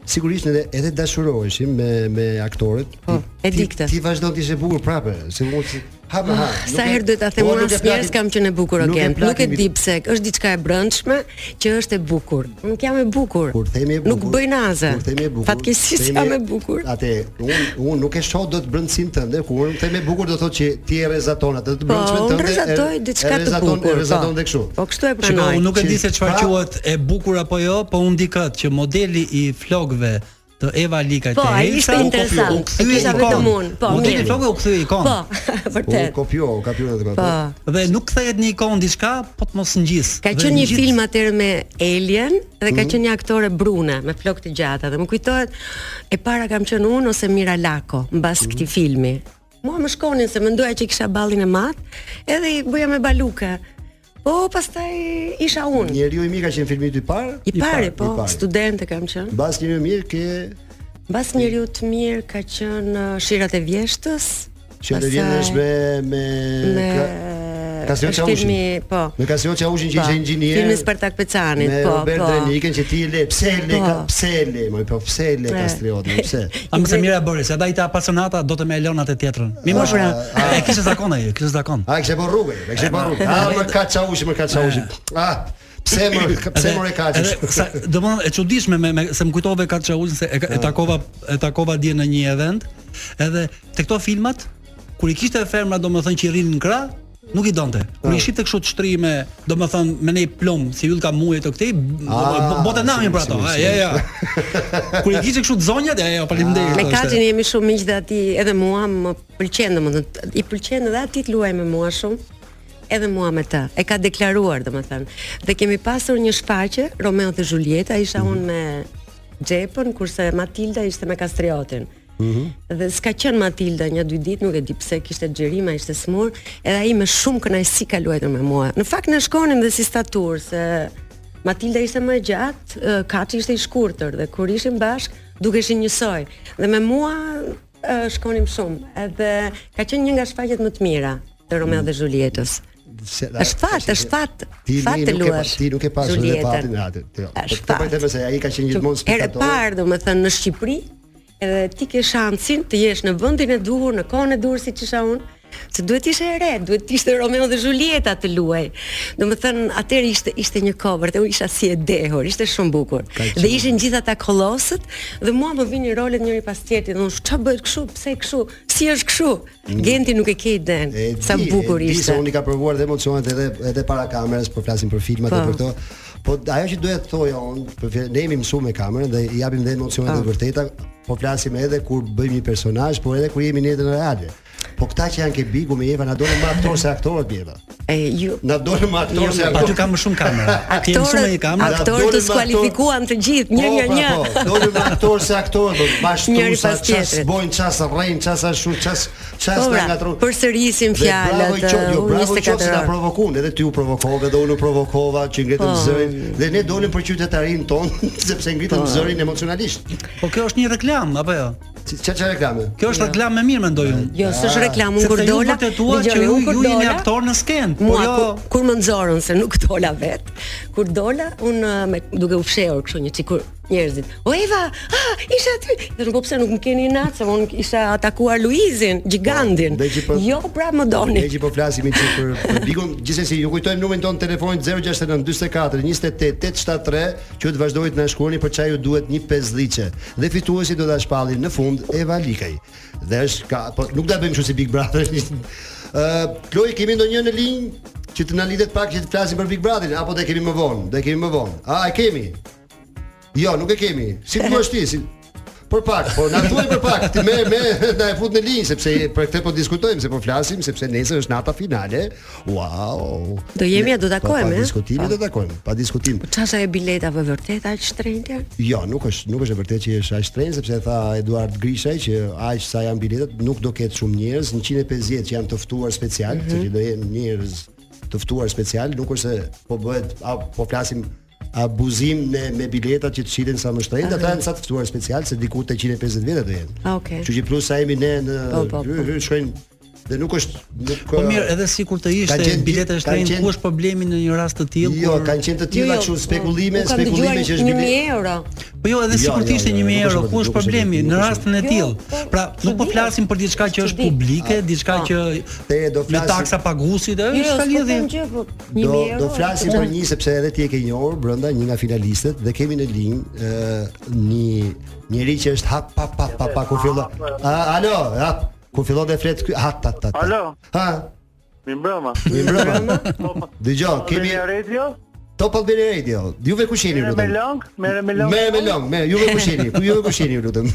[SPEAKER 7] sigurisht ne edhe dashuroheshim me me aktorët. Po,
[SPEAKER 13] e di këtë.
[SPEAKER 7] Ti vazhdon të ishe bukur prapë, se unë si hap ha. po,
[SPEAKER 13] Ah, Sa herë duhet ta them unë asnjëherë s'kam qenë e bukur o
[SPEAKER 7] nuk e
[SPEAKER 13] Gent. Nuk e
[SPEAKER 7] plakim-
[SPEAKER 13] di pse, është diçka e brëndshme që është e bukur. Nuk jam e bukur.
[SPEAKER 7] Kur themi e bukur.
[SPEAKER 13] Nuk bëj naze.
[SPEAKER 7] Kur themi e bukur.
[SPEAKER 13] Fatkeqësisht
[SPEAKER 7] themi-
[SPEAKER 13] jam e bukur.
[SPEAKER 7] Atë unë unë nuk e shoh dot brëndsinë tënde, kur unë them e bukur do thotë që ti e rezaton atë të
[SPEAKER 13] Po,
[SPEAKER 7] brëndshme
[SPEAKER 13] unë
[SPEAKER 7] tënde. e-
[SPEAKER 13] rezatoj
[SPEAKER 7] e
[SPEAKER 13] diçka të
[SPEAKER 7] rezaton-
[SPEAKER 13] bukur.
[SPEAKER 7] E rezaton
[SPEAKER 13] po.
[SPEAKER 7] dhe kështu.
[SPEAKER 13] Po kështu e
[SPEAKER 6] Shiko,
[SPEAKER 13] pranoj.
[SPEAKER 6] unë nuk e di
[SPEAKER 7] Që
[SPEAKER 6] se çfarë
[SPEAKER 7] pra-
[SPEAKER 6] quhet e bukur apo jo, po unë di këtë që modeli i flokëve të Eva Lika
[SPEAKER 13] Po,
[SPEAKER 6] te
[SPEAKER 13] ai
[SPEAKER 6] Elsa,
[SPEAKER 13] ishte
[SPEAKER 6] u
[SPEAKER 13] interesant.
[SPEAKER 6] kopio, u kthye
[SPEAKER 13] E kisha
[SPEAKER 6] ikon.
[SPEAKER 13] vetëm unë, po,
[SPEAKER 6] modeli
[SPEAKER 13] mirë.
[SPEAKER 6] i flokëve u kthye ikon.
[SPEAKER 13] Po, vërtet.
[SPEAKER 7] U kopio, u kopio edhe me atë.
[SPEAKER 6] Dhe nuk kthehet në ikon diçka, po të mos ngjis.
[SPEAKER 13] Ka
[SPEAKER 6] Dhe
[SPEAKER 13] qenë një
[SPEAKER 6] ngjit-
[SPEAKER 13] film atëherë me Alien dhe
[SPEAKER 1] Mhm.
[SPEAKER 13] ka qenë një aktore brune me flokë të gjata dhe më kujtohet e para kam qenë unë ose Mira Lako mbas këtij filmi. Mua më shkonin se mendoja që kisha ballin e madh, edhe i bëja me baluka. Po pastaj isha unë.
[SPEAKER 7] Njeriu i mirë ka qenë filmi i parë?
[SPEAKER 13] I pari, po, studente kam qenë.
[SPEAKER 7] Mbas njeriu i mirë ke
[SPEAKER 13] Mbas njeriu të mirë ka qenë uh, Shirat e Vjeshtës.
[SPEAKER 7] që të
[SPEAKER 13] pastaj
[SPEAKER 7] vjenesh me me
[SPEAKER 13] me
[SPEAKER 7] Kasion
[SPEAKER 13] është
[SPEAKER 7] Qaushin.
[SPEAKER 13] filmi, po.
[SPEAKER 7] Me Kasion Qaushin që
[SPEAKER 13] Po,
[SPEAKER 7] ishte inxhinier.
[SPEAKER 13] Filmi Spartak Pecanit,
[SPEAKER 7] me
[SPEAKER 13] po,
[SPEAKER 7] Robert
[SPEAKER 13] po.
[SPEAKER 7] Drenikën që ti e le, pse e le,
[SPEAKER 13] Po.
[SPEAKER 7] ka, pse e le, më po pse e le
[SPEAKER 13] E.
[SPEAKER 7] Kastriot, më pse?
[SPEAKER 6] A më se mira bëri, se ata i ta pasionata do të më elonat e tjetrën. Mi më
[SPEAKER 7] pra.
[SPEAKER 6] E kishte zakon ai, kishte zakon.
[SPEAKER 7] A kishe po rrugë, e kishe po rrugë. A më ka Qaushi, më ka Qaushi. Ah, pse më pse më e kaqesh?
[SPEAKER 6] Edhe sa domthon e çuditshme me, me se më kujtove Kaçaulin se e, ka- e takova e takova dje në një event. Edhe te këto filmat kur i kishte femra domethënë që i rrinin në krah, nuk i donte.
[SPEAKER 7] Ah.
[SPEAKER 6] Kur i shifte kështu të shtrime, domethënë me nej plumb, si yll ka muje të këtij,
[SPEAKER 7] Ah,
[SPEAKER 6] botë namin për ato.
[SPEAKER 7] si,
[SPEAKER 6] a,
[SPEAKER 7] si.
[SPEAKER 6] Ja, ja. Kur i kishte kështu të zonjat, ja, ja, faleminderit.
[SPEAKER 13] Me
[SPEAKER 6] thoshte.
[SPEAKER 13] Kaçin jemi shumë miq dhe aty edhe mua më pëlqen domethënë i pëlqen edhe aty të luaj me mua shumë edhe mua me të. E ka deklaruar domethënë. Dhe kemi pasur një shfaqje Romeo dhe Julieta, isha unë me Xhepën kurse Matilda ishte me Kastriotin. Dhe s'ka qenë Matilda një dy ditë, nuk e di pse kishte xherima, ishte smur, edhe ai me shumë kënaqësi ka luajtur me mua. Në fakt ne shkonim dhe si statur se Matilda ishte më e gjatë, ë, Kaçi ishte i shkurtër dhe kur ishim bashk dukeshin njësoj. Dhe me mua ë, shkonim shumë. Edhe ka qenë një nga shfaqjet më të mira të Romeo dhe Julietës.
[SPEAKER 7] Se-
[SPEAKER 13] Është fat, është fat.
[SPEAKER 7] Ti
[SPEAKER 13] Fat
[SPEAKER 7] ne
[SPEAKER 13] të
[SPEAKER 7] nuk e pa,
[SPEAKER 13] luash.
[SPEAKER 7] ti nuk e pasur dhe
[SPEAKER 13] Julietën.
[SPEAKER 7] fatin atë. Jo, po
[SPEAKER 13] Është
[SPEAKER 7] këtë po e
[SPEAKER 13] fat.
[SPEAKER 7] them se ai ka qenë gjithmonë
[SPEAKER 13] Herë
[SPEAKER 7] spektator.
[SPEAKER 13] parë, domethënë në Shqipëri, edhe ti ke shansin të jesh në vendin e duhur, në kohën e duhur siç isha unë. Se duhet ishe e re, duhet ishte Romeo dhe Julieta të luaj. Domethënë atëherë ishte ishte një kohë vërtet, unë isha si e dehur, ishte shumë bukur. Dhe ishin gjithë ata kolosët dhe mua më vinin rolet njëri pas tjetrit, dhe unë çfarë bëhet kështu, pse kështu, si është kështu? Genti nuk e ke
[SPEAKER 7] E
[SPEAKER 13] iden. Sa
[SPEAKER 7] di,
[SPEAKER 13] bukur
[SPEAKER 7] e di se
[SPEAKER 13] ishte.
[SPEAKER 7] unë i ka provuar dhe emocionet edhe edhe para kamerës, po flasim për filmat
[SPEAKER 13] Po.
[SPEAKER 7] dhe për këto. Po ajo që doja të thoja unë, po fja- ne jemi mësuar me kamerën dhe i japim dhe emocionet e vërteta, po flasim edhe kur bëjmë një personazh, por edhe kur jemi në jetën reale. Po këta që janë ke bigu me Eva na donë më aktor se aktorët bjeva.
[SPEAKER 13] E ju
[SPEAKER 7] Na donë më aktor se aktorët.
[SPEAKER 6] Aty ka më shumë kamera. Ti jemi shumë me një kamerë.
[SPEAKER 7] Na
[SPEAKER 13] aktorët
[SPEAKER 7] dolim
[SPEAKER 13] të skualifikuan të gjithë, një
[SPEAKER 7] Po,
[SPEAKER 13] nga
[SPEAKER 7] pra,
[SPEAKER 13] një.
[SPEAKER 7] Po, dolim aktor se aktor, do të bashkë
[SPEAKER 13] Njëri
[SPEAKER 7] sa
[SPEAKER 13] pas
[SPEAKER 7] ças
[SPEAKER 13] tjetrit.
[SPEAKER 7] bojnë, ças rrejnë, ças ashtu, ças ças
[SPEAKER 13] Po,
[SPEAKER 7] na
[SPEAKER 13] pra,
[SPEAKER 7] ngatron.
[SPEAKER 13] përsërisin
[SPEAKER 7] Dhe bravo i
[SPEAKER 13] fjalët,
[SPEAKER 7] qoftë, jo,
[SPEAKER 13] u
[SPEAKER 7] bravo i qoftë se
[SPEAKER 13] 24
[SPEAKER 7] na
[SPEAKER 13] orë.
[SPEAKER 7] provokon, edhe ty u provokove dhe unë u provokova që ngritëm
[SPEAKER 13] Po. Po.
[SPEAKER 7] zërin dhe ne dolim për qytetarin ton sepse ngritëm zërin emocionalisht.
[SPEAKER 6] Po kjo është një reklam apo jo?
[SPEAKER 7] Çfarë çfarë reklame?
[SPEAKER 6] Kjo është reklamë më mirë mendoj unë.
[SPEAKER 13] Jo, s'është reklamë, unë
[SPEAKER 6] Sepse
[SPEAKER 13] kur
[SPEAKER 6] ju
[SPEAKER 13] dola.
[SPEAKER 6] vërtetuat që
[SPEAKER 13] dëgjoni,
[SPEAKER 6] ju
[SPEAKER 13] unë kur
[SPEAKER 6] ju jeni
[SPEAKER 13] dola,
[SPEAKER 6] aktor në skenë, po
[SPEAKER 13] Mua,
[SPEAKER 6] jo
[SPEAKER 13] kur, kur më nxorën se nuk dola vet. Kur dola un me duke u fshehur kështu një sikur njerëzit. O Eva, ah, isha aty. Dhe nuk po pse nuk më keni natë, se un isha atakuar Luizin, gigantin.
[SPEAKER 7] po-
[SPEAKER 13] Jo, pra më doni.
[SPEAKER 7] Ne që po flasim një çik për për Bikun, gjithsesi ju kujtojmë numrin tonë telefonit 069 44 28 873 që të vazhdojit na shkruani për çaj ju duhet një pesdhiçe. Dhe fituesi do ta shpallin në fund Eva Likaj. Dhe është ka po nuk ta bëjmë kështu si Big Brother. Ë Kloj kemi ndonjë në linjë që të na lidhet pak që të flasim për Big Brotherin apo do e kemi më vonë? Do e kemi më vonë. A e kemi? Jo, nuk e kemi. Si ku është ti? Si... Për pak, po na thuaj për pak. Ti me me na e fut në linjë sepse për këtë po diskutojmë, se po flasim sepse nesër është nata finale. Wow.
[SPEAKER 13] Do jemi,
[SPEAKER 7] Ne-
[SPEAKER 13] a do takojmë,
[SPEAKER 7] Pa, pa
[SPEAKER 13] e?
[SPEAKER 7] diskutime
[SPEAKER 13] Pa.
[SPEAKER 7] do takojmë, pa diskutim.
[SPEAKER 13] Çasha e biletave vërtet aq shtrenjtë?
[SPEAKER 7] Jo, nuk është, nuk është e vërtetë që është aq shtrenjtë sepse tha Eduard Grishaj që aq sa janë biletat nuk do ketë shumë njerëz, 150 që janë të ftuar special,
[SPEAKER 13] Mhm.
[SPEAKER 7] se që do jenë njerëz të ftuar special, nuk është se po bëhet a, po flasim abuzim me me biletat që të shiten sa më shtrenjtë, ata
[SPEAKER 13] Aha.
[SPEAKER 7] janë sa të ftuar special se diku te 150 veta do jenë.
[SPEAKER 13] Ah, okay.
[SPEAKER 7] Kështu që plus sa jemi ne në
[SPEAKER 13] Po, po, po.
[SPEAKER 7] hy- hy- shkojnë dhe nuk është nuk
[SPEAKER 6] Po mirë, edhe sikur të
[SPEAKER 7] Kanë
[SPEAKER 6] ishte
[SPEAKER 7] qenë-
[SPEAKER 6] bileta
[SPEAKER 7] kanë
[SPEAKER 6] shtrenjtë,
[SPEAKER 7] qenë-
[SPEAKER 6] ku është problemi në një rast të tillë?
[SPEAKER 7] Jo,
[SPEAKER 6] kur-
[SPEAKER 7] kanë qenë të tilla kështu spekulime, spekulime që është biletë.
[SPEAKER 13] 1000 euro.
[SPEAKER 6] Po jo, edhe
[SPEAKER 7] Jo,
[SPEAKER 6] sikur të
[SPEAKER 7] jo,
[SPEAKER 6] ishte
[SPEAKER 7] jo,
[SPEAKER 6] 1000
[SPEAKER 7] nuk
[SPEAKER 6] euro, ku
[SPEAKER 7] është vërtet,
[SPEAKER 6] është
[SPEAKER 7] nuk është
[SPEAKER 6] problemi
[SPEAKER 7] vërtet,
[SPEAKER 6] në
[SPEAKER 7] nuk është
[SPEAKER 6] rastin e
[SPEAKER 7] vërtet.
[SPEAKER 6] tillë? Pra, nuk po flasim për diçka që është publike, diçka që
[SPEAKER 7] Te do
[SPEAKER 6] me
[SPEAKER 7] flasim-
[SPEAKER 6] taksa pagusit,
[SPEAKER 13] Jo,
[SPEAKER 6] është
[SPEAKER 13] s'po
[SPEAKER 6] ka lidhje.
[SPEAKER 13] them gjë, po 1000
[SPEAKER 7] Do
[SPEAKER 13] euro.
[SPEAKER 7] do flasim
[SPEAKER 13] është
[SPEAKER 7] për
[SPEAKER 13] gjë.
[SPEAKER 7] një sepse edhe ti e ke njohur brenda një nga finalistët dhe kemi në linjë ë një njeri që është hap pa pa pa pa kur fillon. A, Alo, hap. Kur fillon të flet ky hap ta ta. ta.
[SPEAKER 14] Alo.
[SPEAKER 7] Ha,
[SPEAKER 14] Mi mbrëma.
[SPEAKER 7] mi mbrëma. Dëgjoj, kemi
[SPEAKER 14] Albania Radio?
[SPEAKER 7] Top Albania Radio. Juve ku jeni
[SPEAKER 14] Merre me
[SPEAKER 7] lutem?
[SPEAKER 14] long, merre me long.
[SPEAKER 7] Merre me long, merre. Juve ku jeni? Ku juve ku jeni lutem?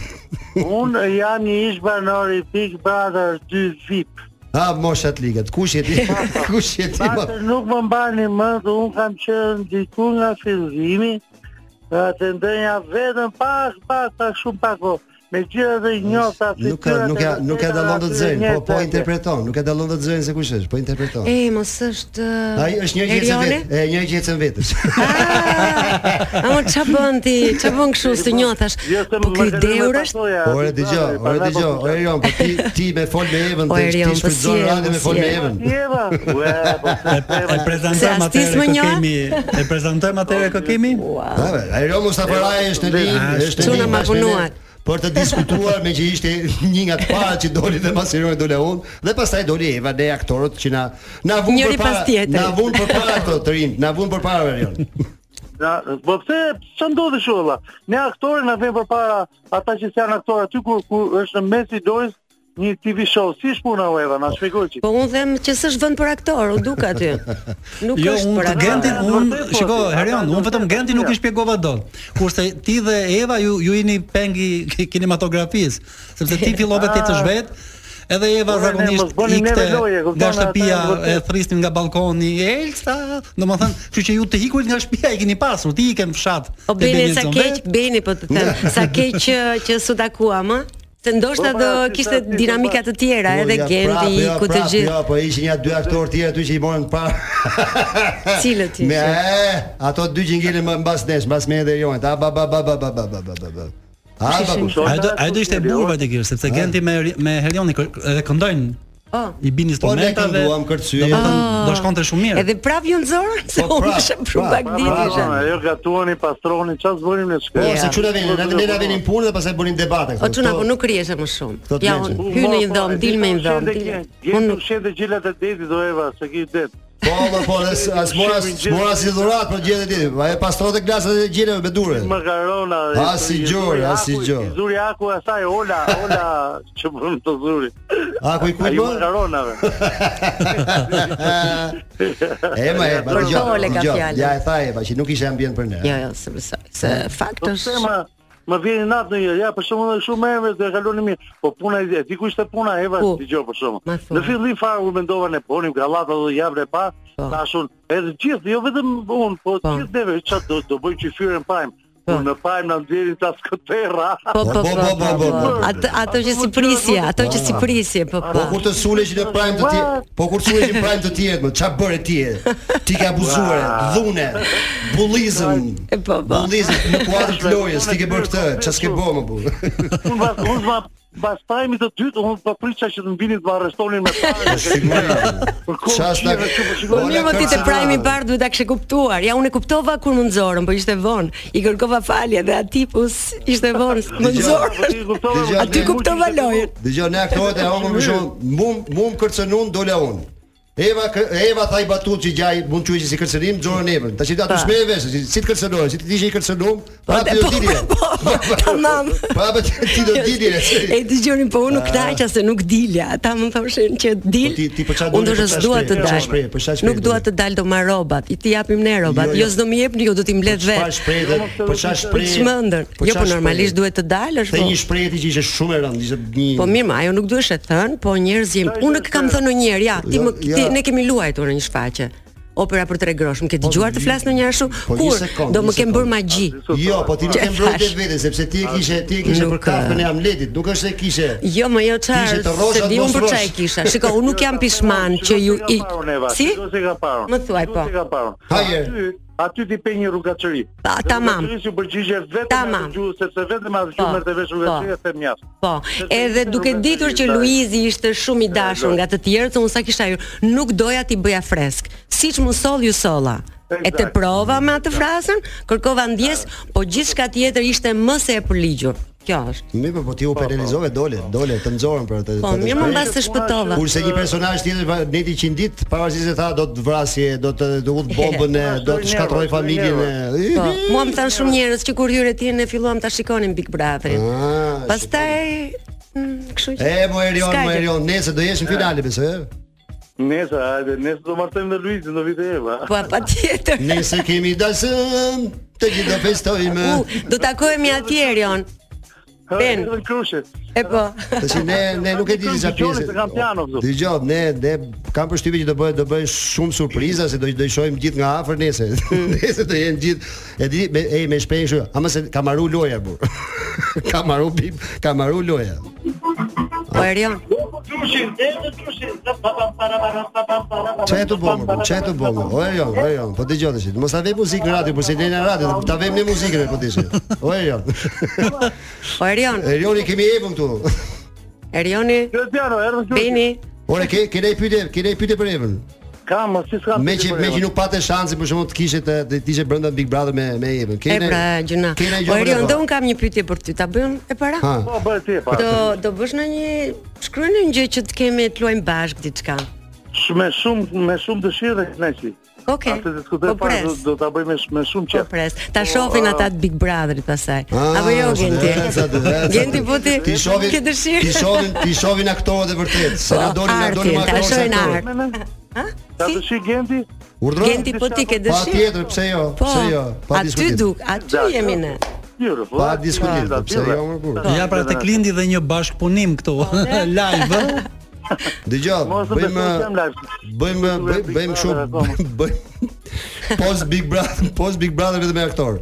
[SPEAKER 14] Unë jam një ish banor i Big Brother 2 VIP.
[SPEAKER 7] Ha, moshat ligat. Kush je ti? Kush je ti? mo?
[SPEAKER 14] Pastaj nuk më mbani më, dhe unë kam qenë diku nga fillimi, dhe të ndënja vetëm pak, pak, pak, shumë pak, po. Me gjithë dhe njofta
[SPEAKER 7] Nuk ka nuk ka nuk ka dallon të zërin, po po interpreton, nuk ka dallon të zërin se kush është, po interpreton.
[SPEAKER 13] E, mos është
[SPEAKER 7] Ai është një që ecën
[SPEAKER 13] Erioni?
[SPEAKER 7] vetë, e një që ecën vetësh.
[SPEAKER 13] A mo qa bën ti, qa bën këshu së njotash Po ky deur është
[SPEAKER 7] Ore dëgjoj, ore dëgjoj, ore Erion, po ti ti me fol me Evën,
[SPEAKER 13] O,
[SPEAKER 7] te
[SPEAKER 13] Erion,
[SPEAKER 7] ti
[SPEAKER 13] po si
[SPEAKER 7] shfrytëzon
[SPEAKER 13] je,
[SPEAKER 7] radio
[SPEAKER 13] po
[SPEAKER 7] me fol
[SPEAKER 13] si
[SPEAKER 7] me
[SPEAKER 13] je.
[SPEAKER 7] Evën.
[SPEAKER 14] Jeva. Ua, po
[SPEAKER 6] E e prezantojmë
[SPEAKER 13] Se astis
[SPEAKER 6] atëherë
[SPEAKER 13] më
[SPEAKER 6] kë
[SPEAKER 13] njoha?
[SPEAKER 6] kemi, e prezantojmë atëherë kë kemi?
[SPEAKER 7] Ha, Erion Mustafa Rai është në linjë, është në
[SPEAKER 13] Çuna
[SPEAKER 7] linjë
[SPEAKER 13] ma
[SPEAKER 7] bashkë me
[SPEAKER 13] punuar.
[SPEAKER 7] ne, për të diskutuar me që ishte një nga të parët që doli dhe pas Erioni dole unë dhe pastaj doli Eva dhe aktorët që na na vun
[SPEAKER 13] Njëri pas
[SPEAKER 7] përpara,
[SPEAKER 13] tjetrit.
[SPEAKER 7] na vun përpara këto të rinj, na vun përpara Erion.
[SPEAKER 14] Na, po pse ç'a ndodhi kështu valla? Ne aktorë na vëmë përpara ata që janë aktorë aty kur kur është në mes i dorës një TV show. Si është puna o Eva? Na shpjegoj ti.
[SPEAKER 13] Po unë them që s'është vend për aktor, u duk aty Nuk
[SPEAKER 6] Jo,
[SPEAKER 13] është
[SPEAKER 6] unë
[SPEAKER 13] për
[SPEAKER 6] të Gentin,
[SPEAKER 13] aktor
[SPEAKER 6] unë shiko, Herion, unë vetëm Gentin nuk i shpjegova dot. Kurse ti dhe Eva ju ju jeni pengi ki- kinematografisë, sepse ti fillove ti të zhvet, edhe Eva
[SPEAKER 14] Ore, ne mos
[SPEAKER 6] zakonisht
[SPEAKER 14] bëni
[SPEAKER 6] ikte
[SPEAKER 14] neve loje, kupton,
[SPEAKER 6] nga
[SPEAKER 14] ata
[SPEAKER 6] shtëpia
[SPEAKER 14] janë vërtet.
[SPEAKER 6] e thrisnin nga balkoni, Elsa, domethënë, kështu që ju të hikurit nga shtëpia e keni pasur, ti ikem fshat.
[SPEAKER 13] O
[SPEAKER 6] te
[SPEAKER 13] Beni
[SPEAKER 6] Benjamini
[SPEAKER 13] sa
[SPEAKER 6] Zombet.
[SPEAKER 13] Po keq, Beni po të them Sa keq që, që su takuam, ë? Se ndoshta
[SPEAKER 14] Po, pra,
[SPEAKER 13] do
[SPEAKER 14] si
[SPEAKER 13] kishte
[SPEAKER 14] sa ti,
[SPEAKER 13] dinamika të tjera
[SPEAKER 7] Po,
[SPEAKER 13] Pra, Edhe
[SPEAKER 7] ja,
[SPEAKER 13] Genti,
[SPEAKER 7] prap, ja,
[SPEAKER 13] iku të
[SPEAKER 7] prap,
[SPEAKER 13] gjithë
[SPEAKER 7] Ja, po ishin ja dy aktorë tjerë aty që i morën pa.
[SPEAKER 13] Cilët
[SPEAKER 7] Me
[SPEAKER 13] ishin?
[SPEAKER 7] ato dy që ngelin më mbas nesh, mbas me edhe jonit. A ba ba ba ba ba ba ba ba ba. ba. A ba
[SPEAKER 13] Ishin-
[SPEAKER 7] ba.
[SPEAKER 6] Ai do ai do ishte burva ti kjo, sepse Genti me Heri- me Herioni kër- edhe këndojnë.
[SPEAKER 13] Oh.
[SPEAKER 6] I bin
[SPEAKER 7] Po ne
[SPEAKER 6] instrumentave.
[SPEAKER 7] kënduam kërcyje.
[SPEAKER 6] Domethënë do shkonte shumë mirë.
[SPEAKER 13] Edhe prap ju nëzorë Se
[SPEAKER 7] Po,
[SPEAKER 13] unë
[SPEAKER 7] prap,
[SPEAKER 13] ishe për
[SPEAKER 7] prap,
[SPEAKER 13] pak ditë
[SPEAKER 7] prap.
[SPEAKER 13] ishe
[SPEAKER 14] Ajo Jo, gatuani, pastroni, ç'a zbonim ne
[SPEAKER 7] Po
[SPEAKER 14] shkë.
[SPEAKER 7] se çuna vjen, ne ne na venin punë dhe pastaj bënin debate
[SPEAKER 13] O
[SPEAKER 7] këtu.
[SPEAKER 13] çuna,
[SPEAKER 7] Kto-
[SPEAKER 13] po nuk rieshe më shumë
[SPEAKER 7] Këto
[SPEAKER 13] Ja,
[SPEAKER 14] po-
[SPEAKER 7] t'leqe.
[SPEAKER 13] unë hy në një
[SPEAKER 10] Po,
[SPEAKER 13] dhomë, dil me një dhomë dil-
[SPEAKER 14] Unë
[SPEAKER 13] Unë
[SPEAKER 14] nuk shënde gjelat e detit do Eva, se ki det.
[SPEAKER 7] Po, po, po, as as mora as mora si dhurat për gjetë ditë. Ai pastrote glasat e gjeleve me durë.
[SPEAKER 14] Makarona. e-
[SPEAKER 7] A, Ah, si
[SPEAKER 14] i
[SPEAKER 7] gjore,
[SPEAKER 14] zuri
[SPEAKER 7] a, si
[SPEAKER 14] aku-
[SPEAKER 7] gjore.
[SPEAKER 14] i Zuri aku asaj, ola, ola, që bën të zuri.
[SPEAKER 7] A ku i kujt
[SPEAKER 14] Ai
[SPEAKER 7] më?
[SPEAKER 14] makaronave.
[SPEAKER 7] E ma e, ma
[SPEAKER 13] Për
[SPEAKER 7] dëgjoj,
[SPEAKER 13] tole ka
[SPEAKER 7] dëgjoj.
[SPEAKER 13] fjallë.
[SPEAKER 7] Ja e tha Eva që nuk ishte ambient për ne.
[SPEAKER 13] Jo, jo, se besoj Se fakt
[SPEAKER 14] Po pse
[SPEAKER 13] është
[SPEAKER 14] ma më vjen i natë në një, ja për shembull edhe shumë emër dhe kaloni mirë. Po puna e di ku ishte puna Eva,
[SPEAKER 13] Ku?
[SPEAKER 14] dëgjoj për shembull.
[SPEAKER 13] Po. Ma thuaj.
[SPEAKER 14] Në fillim fare u mendova ne bonim gallata do javën e pa,
[SPEAKER 13] Po.
[SPEAKER 14] tashun edhe gjithë, jo vetëm unë, po gjithë neve çat do do bëjmë çifyrën pajm. Po në pajm na nxjerrin ta skoterra.
[SPEAKER 13] Po, po, po,
[SPEAKER 7] po,
[SPEAKER 13] po, po.
[SPEAKER 7] po, po.
[SPEAKER 13] Ato, ato që si prisje, ato që si prisje, po,
[SPEAKER 7] Po
[SPEAKER 13] po.
[SPEAKER 7] kur të sulesh në prime të tjerë, po kur sulesh në prime të tjerë, më çfarë bëre ti? Ti ke abuzuar, dhune, bullizëm.
[SPEAKER 13] E, po, po.
[SPEAKER 7] Bullizëm në kuadër të lojës, ti ke bërë këtë, ç'a s'ke bërë më burr.
[SPEAKER 14] Unë vazhdova Pas pajmit të dytë, unë po prisha që të mbinin të më arrestonin me parë. Për kohë
[SPEAKER 7] Çast na-
[SPEAKER 14] qire, kështu, po
[SPEAKER 13] Po
[SPEAKER 14] shikoj.
[SPEAKER 13] mirë më ti te prajmi i parë duhet ta kishe kuptuar. Ja unë e kuptova kur më nxorën, po ishte vonë. I kërkova falje dhe aty pus ishte vonë. Më nxorën.
[SPEAKER 7] Dëgjoj,
[SPEAKER 13] Aty
[SPEAKER 7] ne-
[SPEAKER 13] kuptova lojën.
[SPEAKER 7] Dëgjoj, ne aktoret e hongër më shumë, mum mum kërcënun dola unë. Eva kë- Eva tha i batut që gjaj mund të si kërcënim xhorën Evën. Tash i aty
[SPEAKER 13] Pa.
[SPEAKER 7] shme e vesh, si- si të kërcënohen, si ti ishe i kërcënum, pra
[SPEAKER 13] dhe-
[SPEAKER 7] ti
[SPEAKER 13] po,
[SPEAKER 7] do dilje.
[SPEAKER 13] Tamam.
[SPEAKER 7] Pra pra, ti do dilje.
[SPEAKER 13] E dëgjoni, po unë nuk
[SPEAKER 7] Ah.
[SPEAKER 13] knaqa se nuk dilja. Ata më thoshin që dil.
[SPEAKER 7] Po ti- ti për
[SPEAKER 13] Unë
[SPEAKER 7] çfarë dole,
[SPEAKER 13] do
[SPEAKER 7] për çfarë
[SPEAKER 13] dua të
[SPEAKER 7] shpreh, për
[SPEAKER 13] dal.
[SPEAKER 7] çfarë shpreh, për çfarë shpreh
[SPEAKER 13] Nuk dua të dal do marr robat. I ti japim ne robat.
[SPEAKER 7] Jo, jo.
[SPEAKER 13] Jo s'do më jepni, ju do t'i mbledh
[SPEAKER 7] Po çfarë
[SPEAKER 13] vetë.
[SPEAKER 7] shpreh dhe po çfarë shpreh.
[SPEAKER 13] Çmendën. Jo, po
[SPEAKER 7] çfarë
[SPEAKER 13] normalisht
[SPEAKER 7] shpreh?
[SPEAKER 13] duhet të dalësh.
[SPEAKER 7] Dhe
[SPEAKER 13] po.
[SPEAKER 7] një shprehje që ishte shumë e rëndë, ishte një
[SPEAKER 13] Po mirë, ma, ajo nuk duhesh e thën, po njerëz jemi. Unë nuk kam thënë ndonjëherë, ja, ti
[SPEAKER 7] Jo,
[SPEAKER 13] më ti,
[SPEAKER 7] ja.
[SPEAKER 13] ne kemi luajtur në një shfaqje. Opera për tre grosh, më ke dëgjuar të flas ndonjëherë ashtu?
[SPEAKER 7] Po, një
[SPEAKER 13] Kur
[SPEAKER 7] sekond,
[SPEAKER 13] do
[SPEAKER 7] një
[SPEAKER 13] më kem bërë
[SPEAKER 7] sekond.
[SPEAKER 13] magji.
[SPEAKER 7] Jo, po ti nuk
[SPEAKER 13] Që
[SPEAKER 7] e mbrojtë
[SPEAKER 13] thash.
[SPEAKER 7] vetë veten sepse ti e kishe ti e kishe për
[SPEAKER 13] Nuk,
[SPEAKER 7] kafën e Hamletit, nuk është se kishe.
[SPEAKER 13] Jo, më jo
[SPEAKER 7] Kishe të
[SPEAKER 13] çfarë.
[SPEAKER 7] rrosh,
[SPEAKER 13] Se di unë
[SPEAKER 7] atë mos
[SPEAKER 13] për çfarë
[SPEAKER 7] rrosh.
[SPEAKER 13] kisha. Shikoj, unë nuk jam pishman që ju i Si?
[SPEAKER 14] Shikoj se ka parën.
[SPEAKER 13] Më thuaj, po.
[SPEAKER 14] Shikoj se ka parën.
[SPEAKER 7] Hajer.
[SPEAKER 14] Aty aty ti pe një rrugaçëri.
[SPEAKER 13] Pa, tamam.
[SPEAKER 14] Rrugaçëri si u përgjigje vetëm
[SPEAKER 13] Tamam.
[SPEAKER 14] atë gjuhë sepse vetëm atë
[SPEAKER 13] Po,
[SPEAKER 14] gjuhë merrte vesh rrugaçëri
[SPEAKER 13] po.
[SPEAKER 14] e them jashtë.
[SPEAKER 13] Po, edhe duke ditur që
[SPEAKER 14] Daj.
[SPEAKER 13] Luizi ishte shumë i dashur nga të tjerët, se unë sa kisha ju, nuk doja t'i bëja fresk. Siç më soll ju solla. E te prova me atë frasën, kërkova ndjes, po gjithçka tjetër ishte më se e përligjur. Kjo është.
[SPEAKER 7] Mirë, po, po ti u penalizove dole, dole të nxorën për atë.
[SPEAKER 13] Po,
[SPEAKER 7] për atë
[SPEAKER 13] mirë, më
[SPEAKER 7] shprehje.
[SPEAKER 13] mbas të shpëtova.
[SPEAKER 7] Kurse një personazh tjetër va- neti 100 ditë, pavarësisht se tha do të vrasje, do të do udh bombën, e, do të shkatroj familjen. e-
[SPEAKER 13] Po, mua më
[SPEAKER 7] jo.
[SPEAKER 13] thanë shumë njerëz që kur hyre ti ne filluam ta shikonin Big Brotherin.
[SPEAKER 7] Ah,
[SPEAKER 13] Pastaj mm, kështu që
[SPEAKER 7] E mo Erion,
[SPEAKER 13] s'ka
[SPEAKER 7] mo
[SPEAKER 13] gjë.
[SPEAKER 7] Erion, nesër do jesh në finale besoj. eh? e?
[SPEAKER 14] Nesër, hajde, nesër do martojmë me Luizin, do vitë Eva.
[SPEAKER 13] Po patjetër.
[SPEAKER 7] Nesër kemi dasëm, të gjithë do festojmë.
[SPEAKER 13] U, do takohemi atje Erion.
[SPEAKER 14] Ha,
[SPEAKER 13] Ben.
[SPEAKER 14] nesër në krushe.
[SPEAKER 13] E po.
[SPEAKER 7] Tashi ne ne nuk e di disa
[SPEAKER 14] Dëgjoni
[SPEAKER 7] pjesë.
[SPEAKER 14] se kam piano këtu.
[SPEAKER 7] Dëgjoj, ne ne kam përshtypjen që do bëhet do bëhet shumë surpriza se do do i shohim gjithë nga afër nesër. nesër do jenë gjithë. E di me e me shpejë kështu. Ama se ka marru loja bur. ka marru bim, ka marru loja.
[SPEAKER 13] Po Erion.
[SPEAKER 14] Krushin, edhe krushin.
[SPEAKER 7] Çe të bëmë, çe të bëmë. O e jo, o e jo. Po dëgjoj tash. Mos ta vë muzikë në radio, por se lënë në radio, ta vëmë ne muzikën e po dish. O e jo.
[SPEAKER 13] Po Erion.
[SPEAKER 7] Erioni kemi evën këtu.
[SPEAKER 13] Erioni.
[SPEAKER 14] Piano, erdhën krushin.
[SPEAKER 13] Beni.
[SPEAKER 7] Ore ke ke ne pyetje, ke ne pyetje për evën.
[SPEAKER 14] Kam, mos si s'kam. po
[SPEAKER 7] Me që me që nuk patë shansin për shkakun të kishe të të ishe brenda Big Brother me me Evën.
[SPEAKER 13] E pra gjëna.
[SPEAKER 7] Kena
[SPEAKER 13] Po
[SPEAKER 7] gjë
[SPEAKER 13] Erion,
[SPEAKER 7] për
[SPEAKER 13] do
[SPEAKER 7] të.
[SPEAKER 13] un kam një pyetje për ty. Ta bëjmë e para?
[SPEAKER 7] Ha.
[SPEAKER 14] Po bëhet ti pa.
[SPEAKER 13] Do do bësh në një shkruaj në një gjë që të kemi të luajmë bashkë diçka.
[SPEAKER 14] Sh- Me shumë me shumë dëshirë dhe kënaqësi.
[SPEAKER 13] Okej.
[SPEAKER 14] Atë
[SPEAKER 13] Po
[SPEAKER 14] diskutoj para do,
[SPEAKER 13] pres.
[SPEAKER 14] do Po, ta bëj me sh- me shumë
[SPEAKER 13] Po
[SPEAKER 14] qejf.
[SPEAKER 13] pres. Ta shohin ata të Big Brotherit pastaj. Apo
[SPEAKER 7] Ah,
[SPEAKER 13] jo Genti? Genti po ti
[SPEAKER 7] Ti shohin
[SPEAKER 13] ke dëshirë.
[SPEAKER 7] Ti shohin ti shohin aktorët e vërtet. Se na
[SPEAKER 13] Po,
[SPEAKER 7] dolin na
[SPEAKER 13] artin,
[SPEAKER 7] dolin më
[SPEAKER 13] ta
[SPEAKER 7] aktorë. se
[SPEAKER 13] shohin
[SPEAKER 7] aktorët.
[SPEAKER 13] art.
[SPEAKER 14] Ta dëshi Genti?
[SPEAKER 7] Urdhro.
[SPEAKER 13] Genti po ti ke
[SPEAKER 7] Pa
[SPEAKER 13] dëshirë.
[SPEAKER 7] tjetër, pse jo?
[SPEAKER 13] Po.
[SPEAKER 7] Pse jo? Pa
[SPEAKER 13] Aty
[SPEAKER 7] diskutim.
[SPEAKER 13] duk, aty jemi ne.
[SPEAKER 14] Beautiful.
[SPEAKER 7] Pa diskutim,
[SPEAKER 14] po. Ta-
[SPEAKER 7] pse jo më kur.
[SPEAKER 6] Ja pra tek lindi dhe Po, një bashkëpunim këtu live. ë?
[SPEAKER 7] Dëgjoj,
[SPEAKER 14] Mos e
[SPEAKER 7] bëjmë
[SPEAKER 14] besoj që jam live.
[SPEAKER 7] bëjmë bëjmë
[SPEAKER 14] Big
[SPEAKER 7] bëjmë
[SPEAKER 14] Brother
[SPEAKER 7] kështu bëjmë post Big Brother, post Big Brother vetëm me aktorë.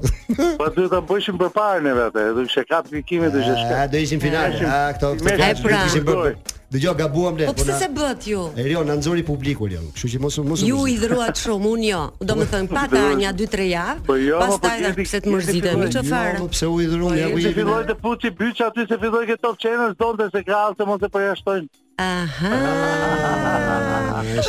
[SPEAKER 14] Po do ta bëshim përpara ne vetë. Do të shekat
[SPEAKER 7] Ah,
[SPEAKER 14] vikime do të shkë.
[SPEAKER 7] A do ishin finale. A këto këto
[SPEAKER 14] E
[SPEAKER 7] kaqë,
[SPEAKER 13] pra.
[SPEAKER 7] ishin bërë. Dëgjoj, gabuam le.
[SPEAKER 13] Po pse
[SPEAKER 7] na-
[SPEAKER 13] se bët ju?
[SPEAKER 7] Erion, na nxori publiku Erion. Kështu që mos mos.
[SPEAKER 13] Ju i dhruat shumë, unë jo. Do më thënë, pata një 2-3 javë,
[SPEAKER 14] Po jo, po
[SPEAKER 13] pastaj
[SPEAKER 14] ti-
[SPEAKER 13] dhe pse të mërzitemi,
[SPEAKER 14] ti-
[SPEAKER 13] që farë?
[SPEAKER 7] Jo, pse u i dhruan?
[SPEAKER 10] Po,
[SPEAKER 7] Ja, u
[SPEAKER 14] Se
[SPEAKER 7] i
[SPEAKER 14] filloi
[SPEAKER 7] dhruan.
[SPEAKER 14] të puçi byç aty se filloi ke Top Channel donte se ka se mos e përjashtojnë.
[SPEAKER 13] Aha.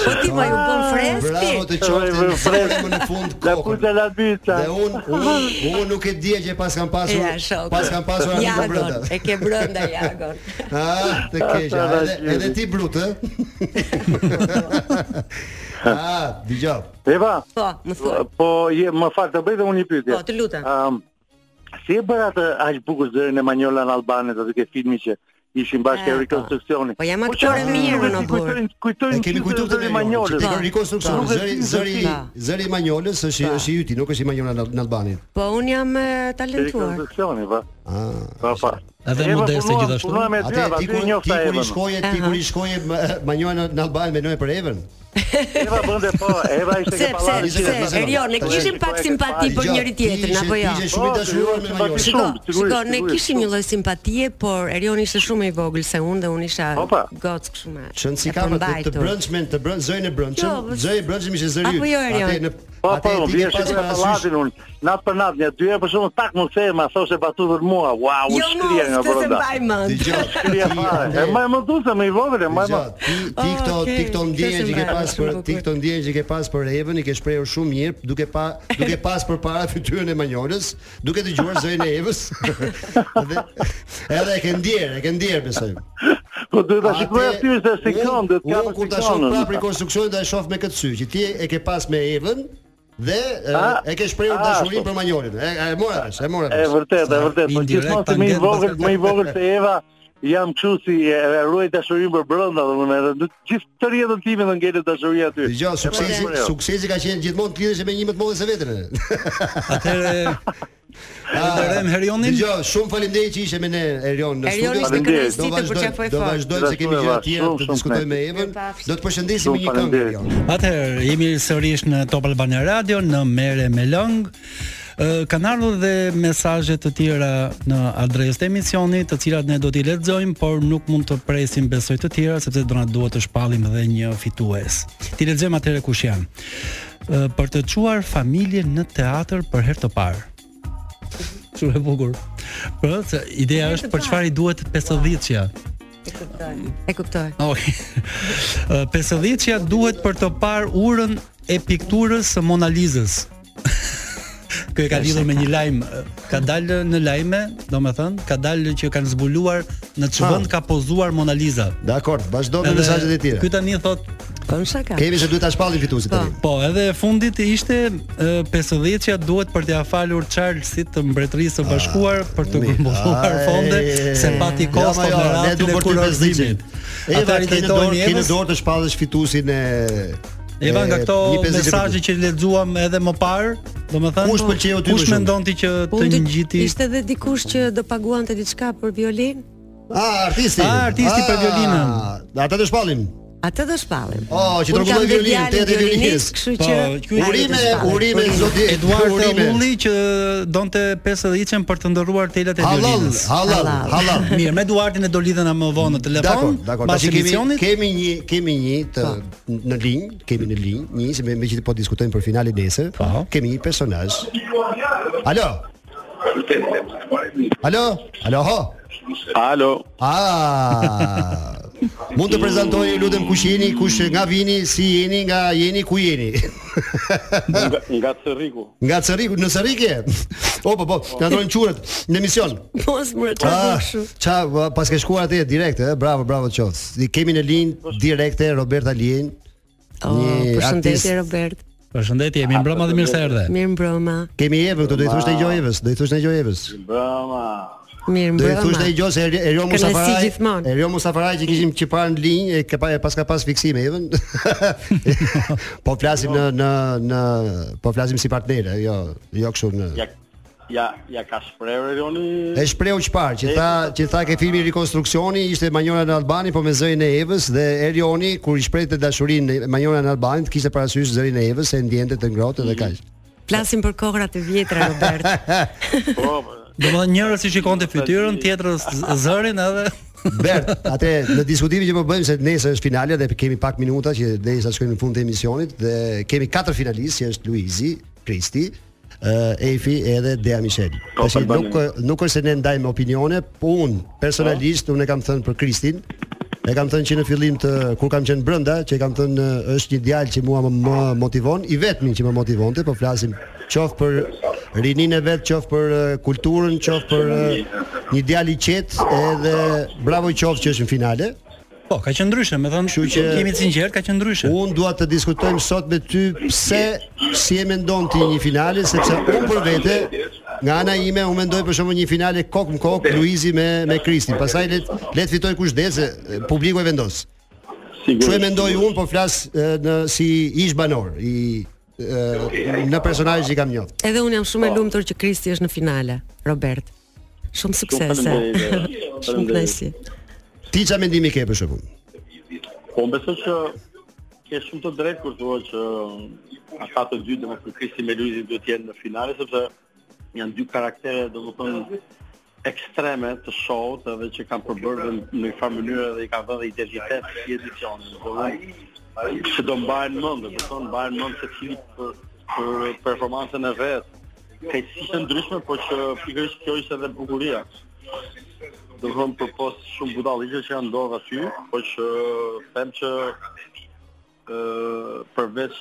[SPEAKER 13] Po ti më ju bën freski.
[SPEAKER 7] Bravo të
[SPEAKER 14] Ai
[SPEAKER 7] qoftë.
[SPEAKER 14] vë fres.
[SPEAKER 7] Më në fund
[SPEAKER 14] La
[SPEAKER 7] kokën.
[SPEAKER 14] puça la byça.
[SPEAKER 7] Dhe unë unë unë nuk e dija që pas kam pasur
[SPEAKER 13] Ja, shoku.
[SPEAKER 7] pas kam pasur artikë
[SPEAKER 13] Jagon,
[SPEAKER 7] brenda.
[SPEAKER 13] e ke brenda Jagon.
[SPEAKER 7] Ah, të keq.
[SPEAKER 14] Ata
[SPEAKER 7] ah, Edhe,
[SPEAKER 14] dashjeri.
[SPEAKER 7] edhe ti brut, ë? ah, dëgjoj.
[SPEAKER 14] Eva,
[SPEAKER 13] Po, më thuaj.
[SPEAKER 14] po je më fal të bëj dhe unë një pyetje.
[SPEAKER 13] Po, të lutem.
[SPEAKER 14] Ëm si e bëra atë aq bukur zërin e Manjola në Albanet aty ke filmi që ishin bashkë
[SPEAKER 13] E,
[SPEAKER 14] e
[SPEAKER 13] po.
[SPEAKER 14] rekonstruksioni.
[SPEAKER 13] Po, jam aktore mirë, unë, burr.
[SPEAKER 14] Kujtojnë kujtojnë
[SPEAKER 7] E kemi kujtuar të
[SPEAKER 14] zërin e
[SPEAKER 7] Manjolës.
[SPEAKER 14] Manjolës.
[SPEAKER 7] Rikonstruksion
[SPEAKER 14] Po.
[SPEAKER 7] zëri zëri
[SPEAKER 13] Po.
[SPEAKER 7] zëri i Manjolës është i- është i yti, nuk është i Manjola në Albani.
[SPEAKER 13] Po, unë jam e, talentuar.
[SPEAKER 14] Rekonstruksioni, po.
[SPEAKER 7] Ah.
[SPEAKER 14] Po, po.
[SPEAKER 6] Edhe
[SPEAKER 14] Eva
[SPEAKER 6] modeste
[SPEAKER 14] punon-
[SPEAKER 6] gjithashtu.
[SPEAKER 14] punon me
[SPEAKER 7] Atë
[SPEAKER 14] dy, Eva,
[SPEAKER 7] ti
[SPEAKER 14] dy
[SPEAKER 7] kur
[SPEAKER 14] e
[SPEAKER 7] ti
[SPEAKER 14] njofta
[SPEAKER 7] kur i
[SPEAKER 14] Evën.
[SPEAKER 7] shkoje ti kur i shkoje ma- Manjola në në Albani mendoj për Evën.
[SPEAKER 14] Eva bënte po, Eva ishte
[SPEAKER 13] Pse,
[SPEAKER 14] ke
[SPEAKER 13] pse,
[SPEAKER 14] pallatin.
[SPEAKER 13] pse,
[SPEAKER 7] Dëgjoj,
[SPEAKER 13] Erion, ne
[SPEAKER 7] dëgjoj.
[SPEAKER 13] kishim pak simpati për
[SPEAKER 7] Dëgjoj,
[SPEAKER 13] po njëri tjetrin,
[SPEAKER 7] ishe-
[SPEAKER 13] apo jo?
[SPEAKER 7] Ishe shumë i
[SPEAKER 14] Po,
[SPEAKER 7] dashuruar me
[SPEAKER 14] simpati
[SPEAKER 7] Manjolën.
[SPEAKER 13] Shiko,
[SPEAKER 14] Shumë, sigurisht,
[SPEAKER 13] shiko, ne
[SPEAKER 14] sigurisht,
[SPEAKER 13] kishim një
[SPEAKER 14] shumë.
[SPEAKER 13] lloj simpatie, por Erion ishte shumë i vogël se unë dhe unë isha
[SPEAKER 14] Opa.
[SPEAKER 13] gocë kështu më.
[SPEAKER 7] Çon si
[SPEAKER 13] e
[SPEAKER 7] kam të, të
[SPEAKER 13] përmbajtur.
[SPEAKER 7] brëndshme, të brënd zojën e brëndshëm,
[SPEAKER 13] Jo, po s-
[SPEAKER 7] zojë e brëndshëm ishte zëri.
[SPEAKER 13] Apo jo, Erion?
[SPEAKER 7] Atë në
[SPEAKER 10] Po,
[SPEAKER 7] Atë
[SPEAKER 10] po,
[SPEAKER 7] e di
[SPEAKER 10] vjen
[SPEAKER 7] pas
[SPEAKER 10] shikoj
[SPEAKER 7] parasysh.
[SPEAKER 10] pallatin unë, natë për natë, një dy herë për shkakun tak mund thema, thoshe batutur mua. Ua, u
[SPEAKER 13] Jo,
[SPEAKER 10] shkria
[SPEAKER 13] mos,
[SPEAKER 10] nga
[SPEAKER 13] të se
[SPEAKER 10] brenda.
[SPEAKER 13] mbaj mend. Dëgjoj,
[SPEAKER 10] shkria
[SPEAKER 13] ti-
[SPEAKER 10] fare. E më e më duse më i vogël, e më e më.
[SPEAKER 7] Ti këto ti këto ndjenjë që ke pas për ti këto ndjenjë që ke pas për Evën i ke shprehur shumë mirë, duke pa duke pas përpara fytyrën e Manjolës, duke dëgjuar zërin e Evës. Edhe edhe e ke ndier, e ke ndier besoj.
[SPEAKER 10] Po duhet ta shikoj aty se sekondet, ka
[SPEAKER 7] Unë kur ta shoh prapë rekonstruksionin ta shoh me këtë sy, që ti e ke pas me Evën dhe e,
[SPEAKER 10] A?
[SPEAKER 7] e ke shprehur
[SPEAKER 10] A,
[SPEAKER 7] dashurinë
[SPEAKER 10] ashtu.
[SPEAKER 7] për Manjolën. E, e mora vesh, e mora
[SPEAKER 10] E
[SPEAKER 7] vesh.
[SPEAKER 10] vërtet, e vërtet, po gjithmonë si më i vogël, më i vogël se Eva, jam kështu si e e ruaj dashurinë për brenda, domethënë, edhe në gjithë të rjetën time do ngelet dashuria aty.
[SPEAKER 7] Dgjoj, suksesi, suksesi ka qenë gjithmonë të lidhesh me një më të modhe se veten.
[SPEAKER 6] Atëherë Falenderojmë Herionin.
[SPEAKER 7] Dgjoj, shumë faleminderit që ishe me ne Erion në
[SPEAKER 13] Erioni
[SPEAKER 7] studio.
[SPEAKER 13] ishte kënaqësi të përqafoj
[SPEAKER 7] Do
[SPEAKER 13] fort.
[SPEAKER 7] vazhdojmë se kemi gjëra të tjera
[SPEAKER 6] Shumë,
[SPEAKER 7] të
[SPEAKER 6] shumë
[SPEAKER 7] diskutojmë me Evën. Do të përshëndesim me një këngë Erion.
[SPEAKER 6] Atëherë, jemi sërish në Top Albania Radio në Mere me Lëng. Ë, Kanë ardhur dhe mesazhe të tjera në adresë të emisionit, të cilat ne do t'i lexojmë, por nuk mund të presim besoj të tjera sepse do na duhet të shpallim edhe një fitues. Ti lexojmë atëherë kush janë. Ë, Për të çuar familjen në teatr për herë të parë. Shumë e bukur. Por se ideja është për çfarë i duhet 50-çja.
[SPEAKER 13] E kuptoj.
[SPEAKER 6] Okej. Ë, 50-çja duhet për të parë urën e pikturës së Mona Lizës. Kjo e ka lidhur me një lajm, ë, ka dalë në lajme, domethënë, ka dalë që kanë zbuluar në ç'vend vend ka pozuar Mona Liza.
[SPEAKER 7] Dakor, vazhdo me mesazhet Po. e tjera.
[SPEAKER 6] Ky tani thot
[SPEAKER 13] Konsa ka.
[SPEAKER 7] Kemi se duhet ta shpallim fituesit tani.
[SPEAKER 6] Po, edhe e fundit ishte ë, 50-ja duhet për t'ia falur Charlesit të Mbretërisë së Bashkuar për të grumbulluar
[SPEAKER 7] Ah, Ai.
[SPEAKER 6] fonde se pati
[SPEAKER 7] Jo, ma
[SPEAKER 6] kosto
[SPEAKER 7] jo,
[SPEAKER 6] në
[SPEAKER 7] ne
[SPEAKER 6] rastin
[SPEAKER 7] du
[SPEAKER 6] e
[SPEAKER 7] për ty
[SPEAKER 6] kurorëzimit.
[SPEAKER 7] Eva
[SPEAKER 6] Ata
[SPEAKER 7] ke në dorë,
[SPEAKER 6] rikujtojnë
[SPEAKER 7] ke në
[SPEAKER 6] Evës.
[SPEAKER 7] dorë të shpallësh fituesin e
[SPEAKER 6] Eva
[SPEAKER 7] e-
[SPEAKER 6] nga këto
[SPEAKER 7] një 50
[SPEAKER 6] mesazhe që lexuam edhe më parë, domethënë
[SPEAKER 7] Kush pëlqeu ty më
[SPEAKER 6] Kush
[SPEAKER 7] shumë?
[SPEAKER 6] mendonti që
[SPEAKER 13] Po,
[SPEAKER 6] të
[SPEAKER 13] unë di-
[SPEAKER 6] ngjiti?
[SPEAKER 13] Ishte edhe dikush që do paguante diçka për violin?
[SPEAKER 7] Ah, artisti.
[SPEAKER 6] Ah, artisti për violinën.
[SPEAKER 7] Ata të shpallim.
[SPEAKER 13] Atë do shpallim.
[SPEAKER 7] Oh,
[SPEAKER 13] Unë
[SPEAKER 7] që
[SPEAKER 13] kam
[SPEAKER 7] rrotulloi
[SPEAKER 13] dhe
[SPEAKER 7] violin,
[SPEAKER 13] djalin
[SPEAKER 7] te te violinis.
[SPEAKER 13] violinist, Kështu
[SPEAKER 6] Po,
[SPEAKER 13] që
[SPEAKER 7] urime, urime
[SPEAKER 13] Po,
[SPEAKER 7] zoti
[SPEAKER 6] Eduardo
[SPEAKER 7] urime.
[SPEAKER 6] Ulli që donte 50-ën për të ndërruar telat e
[SPEAKER 7] Halal,
[SPEAKER 6] violinës.
[SPEAKER 7] halal, halal.
[SPEAKER 6] Mirë, me Eduardin e do lidhen më vonë në
[SPEAKER 7] Dakor,
[SPEAKER 6] telefon.
[SPEAKER 7] dakor.
[SPEAKER 6] pas
[SPEAKER 7] Tash kemi
[SPEAKER 6] emisionit.
[SPEAKER 7] kemi një kemi një të në linj, kemi në linj, një se me, me që po diskutojmë për finalin nesër,
[SPEAKER 6] Po.
[SPEAKER 7] kemi një personazh. Alo. Alo, alo ho.
[SPEAKER 10] Alo.
[SPEAKER 7] Ah. Mund të prezantoni lutem kush jeni, kush nga vini, si jeni, nga jeni, ku jeni?
[SPEAKER 10] Nga, nga Cerriku.
[SPEAKER 7] Nga Cerriku, në Cerrik je? O po po, na ndrojnë çuret në emision.
[SPEAKER 13] Mos më
[SPEAKER 7] Ah, ça va, pas ke shkuar atje direkt, ë, bravo, bravo qoftë. I kemi në linjë direkte Roberta Lien.
[SPEAKER 13] Oh,
[SPEAKER 7] Një artist.
[SPEAKER 13] Përshëndetje Robert.
[SPEAKER 6] Përshëndetje, jemi mbrëmë dhe mirë se erdhe.
[SPEAKER 13] Mirë mbrëma.
[SPEAKER 7] Kemi Evën këtu, do i thosh të Jojevës, do i thosh të Jojevës.
[SPEAKER 10] Brama.
[SPEAKER 13] Mirë
[SPEAKER 7] Do i
[SPEAKER 13] mbrëma.
[SPEAKER 7] thosh të Jojevës se Eri- Erion
[SPEAKER 13] Kënaqësi
[SPEAKER 7] Musafaraj.
[SPEAKER 13] gjithmonë.
[SPEAKER 7] Erion Musafaraj që kishim që parë në linjë, e ka pa e paska pas fiksime Evën. po flasim në në në po flasim si partnerë, jo jo kështu në
[SPEAKER 10] Ja ja ja ka shprehur Erioni.
[SPEAKER 7] E shprehu çfarë që tha që tha ke filmi Rikonstruksioni ishte Manjora në Albani po me zërin e Evës dhe Erioni kur i shprehte dashurinë e Manjora në Albani kishte parasysh zërin e Evës se ndjente të ngrohtë dhe kaq.
[SPEAKER 13] Flasim për kohrat e vjetra Robert.
[SPEAKER 10] po,
[SPEAKER 6] Domethënë njërës i shikonte fytyrën, tjetrës z- zërin edhe
[SPEAKER 7] Bert, atë në diskutimin që po bëjmë se nesër është finalja dhe kemi pak minuta që derisa shkojmë në fund të emisionit dhe kemi katër finalistë që është Luizi, Kristi, ë Efi edhe Dea Michel.
[SPEAKER 10] Po,
[SPEAKER 7] Tash
[SPEAKER 10] Albani.
[SPEAKER 7] nuk nuk është se ne ndajmë opinione, po unë personalisht
[SPEAKER 10] Po.
[SPEAKER 7] unë e kam thënë për Kristin. E kam thënë që në fillim të kur kam qenë brenda, që e kam thënë ë, është një djalë që mua më, më motivon, i vetmi që më motivonte, po flasim qoftë për rinin e vet, qoftë për ë, kulturën, qoftë për ë, një djalë i qetë, edhe bravo i qoftë që është në finale.
[SPEAKER 6] Po, ka qenë ndryshe, më thënë,
[SPEAKER 7] Kështu që-
[SPEAKER 6] jemi të sinqertë, ka qenë ndryshe.
[SPEAKER 7] Unë dua të diskutojmë sot me ty pse si e mendon ti një finale sepse unë për vete nga ana ime unë mendoj për shembull një finale kokë në kokë Luizi me me Kristin. Pastaj le le të fitoj kush del se e, publiku e vendos.
[SPEAKER 10] Jo,
[SPEAKER 7] Kështu e mendoj unë, po flas e, në si ish banor i e, në personazhin që i kam njohur.
[SPEAKER 13] Edhe unë jam
[SPEAKER 1] Po.
[SPEAKER 13] shumë e lumtur që Kristi është në finale, Robert. Shumë suksese.
[SPEAKER 10] faleminderit.
[SPEAKER 13] Shumë kënaqësi.
[SPEAKER 7] Ti çfarë mendimi ke për shembull?
[SPEAKER 10] Po më besoj që ke shumë të drejtë kur thua që um, ata të dy do të Kristi me Luizin duhet të jenë në finale sepse janë dy karaktere domethënë ekstreme të shohut edhe që kanë përbërë dhe në një farë mënyrë dhe i kanë dhënë identitet si edicioni. Domethënë që do mbahen mend, do të thonë mbahen mend se cili për
[SPEAKER 15] për performancën e vet. Ka ishte ndryshme,
[SPEAKER 10] po
[SPEAKER 15] por që pikërisht kjo ishte edhe bukuria. Do të thonë përpos shumë budalliqe që janë ndodhur aty, por që eh, them që ë përveç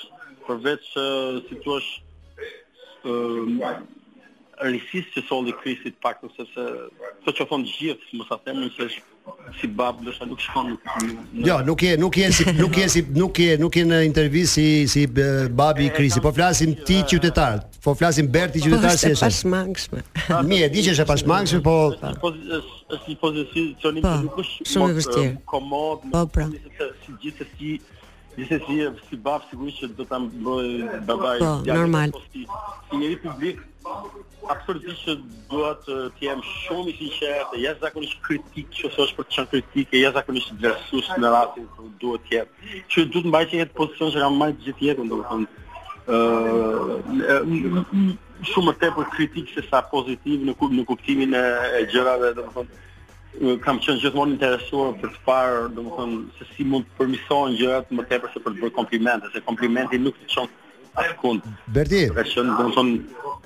[SPEAKER 15] përveç ë, si thua ë risis që solli Krisi të paktën sepse kjo që thon të gjithë, mos ta themin se është si bab, do nuk shkon në- në
[SPEAKER 7] Jo, nuk je nuk je si nuk je si nuk je nuk je në intervistë si si e, babi i Krisi, po flasim ti qytetar. Po flasim Berti qytetar si
[SPEAKER 13] është e
[SPEAKER 7] është.
[SPEAKER 13] pashmangshme.
[SPEAKER 7] Mi e di që është e pashmangshme, po
[SPEAKER 15] Pozi- është është një pozicionim
[SPEAKER 13] Po,
[SPEAKER 15] që nuk është
[SPEAKER 13] shumë i
[SPEAKER 10] e,
[SPEAKER 15] mot-
[SPEAKER 13] vështirë.
[SPEAKER 15] komod,
[SPEAKER 13] Po,
[SPEAKER 15] nuk-
[SPEAKER 13] pra.
[SPEAKER 15] se- si gjithsesi gjithsesi si bab sigurisht që do ta
[SPEAKER 10] e,
[SPEAKER 15] mbroj babai.
[SPEAKER 13] Po,
[SPEAKER 15] djalin,
[SPEAKER 13] normal.
[SPEAKER 15] po Si, si njëri publik absolutisht që dua të të jem shumë i sinqert, e jashtëzakonisht kritik, që ose është për të qenë kritik, e jashtëzakonisht vlerësues në rastin ku duhet të jem. Që duhet të mbaj që jetë pozicion që kam marrë gjithë jetën, domethënë ë m- m- m- shumë më tepër kritik se sa pozitiv në ku- në kuptimin e, e gjërave, domethënë ë, kam qenë gjithmonë interesuar për të parë, domethënë se si mund të përmirësohen gjërat më tepër se për të bërë komplimente, se komplimenti nuk të çon askund.
[SPEAKER 7] Berti,
[SPEAKER 15] Ka qenë domethënë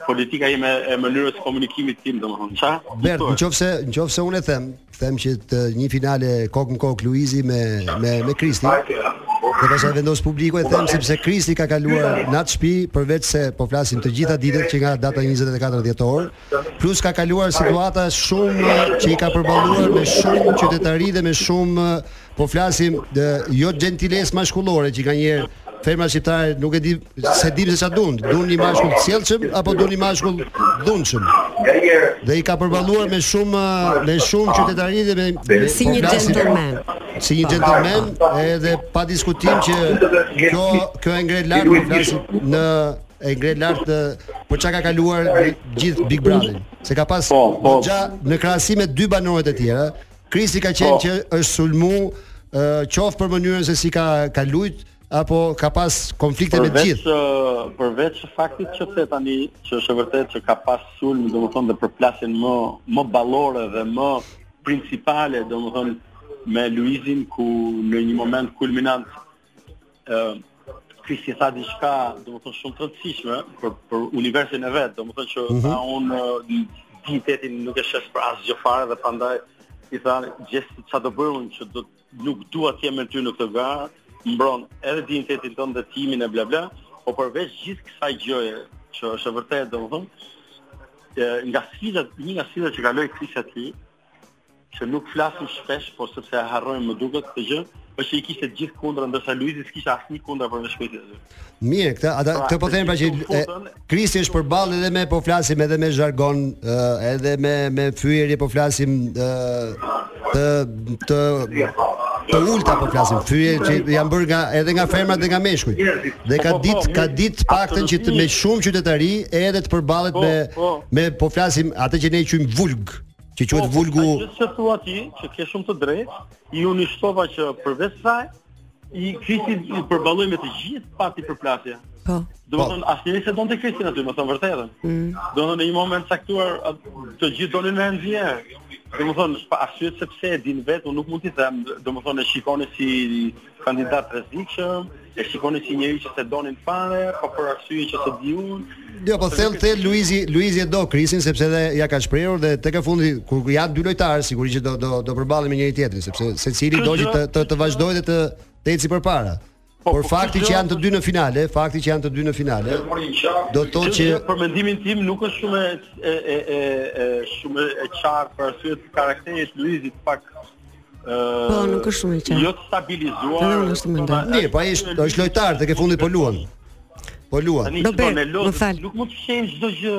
[SPEAKER 15] politika ime e mënyrës së komunikimit tim domethënë. Ça?
[SPEAKER 7] Bert, nëse nëse unë e them, them që të një finale kokë në kokë Luizi me me me Kristi. Dhe pastaj vendos publiku e them sepse Kristi ka kaluar në atë shtëpi përveç se po flasim të gjitha ditët që nga data 24 dhjetor, plus ka kaluar situata shumë që i ka përballuar me shumë qytetari dhe me shumë po flasim dhe, jo gentiles mashkullore që nganjëherë Ferma shqiptare nuk e di se dim se çfarë duan, duan një mashkull të sjellshëm apo duan një mashkull dhunshëm. Dhe i ka përballuar me shumë me shumë qytetari dhe me, me
[SPEAKER 13] Si një
[SPEAKER 7] po flasim-
[SPEAKER 13] gentleman.
[SPEAKER 7] si një gentleman edhe pa diskutim që kjo kjo e ngre lart po flasim në e ngre lart ë, për çka ka kaluar në gjithë Big Brotherin. Se ka pas po, në krahasim me dy banorët e tjera, Krisi ka qenë
[SPEAKER 15] Po.
[SPEAKER 7] që është sulmu ë, qoftë për mënyrën se si ka ka lujt apo ka pas konflikte me të
[SPEAKER 15] Përveç
[SPEAKER 7] gjithë.
[SPEAKER 15] ë, përveç faktit që the tani që është e vërtetë që ka pas sulm, domethënë dhe përplasjen më më ballore dhe më principale, domethënë me Luizin ku në një moment kulminant ë Kristi Ehm, tha diçka, domethënë shumë të rëndësishme për për universin e vet, domethënë që
[SPEAKER 10] Mhm.
[SPEAKER 15] tha unë ë, diitetin nuk e shes për asgjë fare dhe prandaj i tha gjest ça do bëj unë që do nuk dua të jem me ty në këtë garë, mbron edhe dinitetin tonë dhe timin e bla bla, po përveç gjithë kësaj gjëje që është e vërtetë domethënë, e, nga sfidat, një nga sfidat që kaloi Krisi aty, që nuk flasim shpesh, por sepse e harrojmë më duket këtë gjë, është që i kishte të gjithë kundra, ndërsa Luizi s'kishte asnjë kundra për veshkëtit.
[SPEAKER 7] Mirë, këtë ata
[SPEAKER 15] Pra,
[SPEAKER 7] këtë po them pra që e, Kristi është përballë edhe me po flasim edhe me zhargon, ë, edhe me me fyerje po flasim ë, të të të ulta po flasim, fyerje që janë bërë nga edhe nga femrat dhe nga meshkujt. Dhe ka ditë ka ditë paktën që të, me shumë qytetari edhe të përballet me me po flasim atë që ne i quajmë vulg, që
[SPEAKER 10] Po,
[SPEAKER 7] quhet vulgu
[SPEAKER 15] Po, Gjithë që thua ti, që ke shumë të drejtë, i unë i shtova që përveç saj, i Kristi i përballoi me të gjithë pati përplasje.
[SPEAKER 13] Po.
[SPEAKER 15] Do të thonë asnjëri se donte Kristin aty, më thon vërtetën.
[SPEAKER 13] Mm.
[SPEAKER 15] Do të thonë në një moment caktuar a- të gjithë donin me nxjerr. Do të thonë pa arsye sepse e din vetë, unë nuk mund t'i them, do të thonë e shikoni si kandidat rrezikshëm, e shikoni si njëri që se donin fare, po për arsye që se di unë.
[SPEAKER 7] Jo, po thell thell Luizi, Luizi e do Krisin sepse edhe ja ka shprehur dhe tek e fundi kur janë dy lojtarë sigurisht që do do do përballen me njëri tjetrin sepse secili do që të të, të vazhdojë dhe të të eci përpara. Por fakti që janë të dy në finale, fakti që janë të dy në finale, do të thotë
[SPEAKER 15] Gjithë
[SPEAKER 7] që
[SPEAKER 15] gjë për mendimin tim nuk është shumë e e e, e, e shumë e qartë për arsye të karakterit të Luizit pak ë
[SPEAKER 13] Po, nuk është shumë e qartë.
[SPEAKER 15] Jo të stabilizuar.
[SPEAKER 13] Edhe unë kështu mendoj.
[SPEAKER 7] mirë, po ai është është lojtar tek e fundi po luan. Po luan.
[SPEAKER 15] Tani shikon, në lojë, Nuk mund të fshem çdo gjë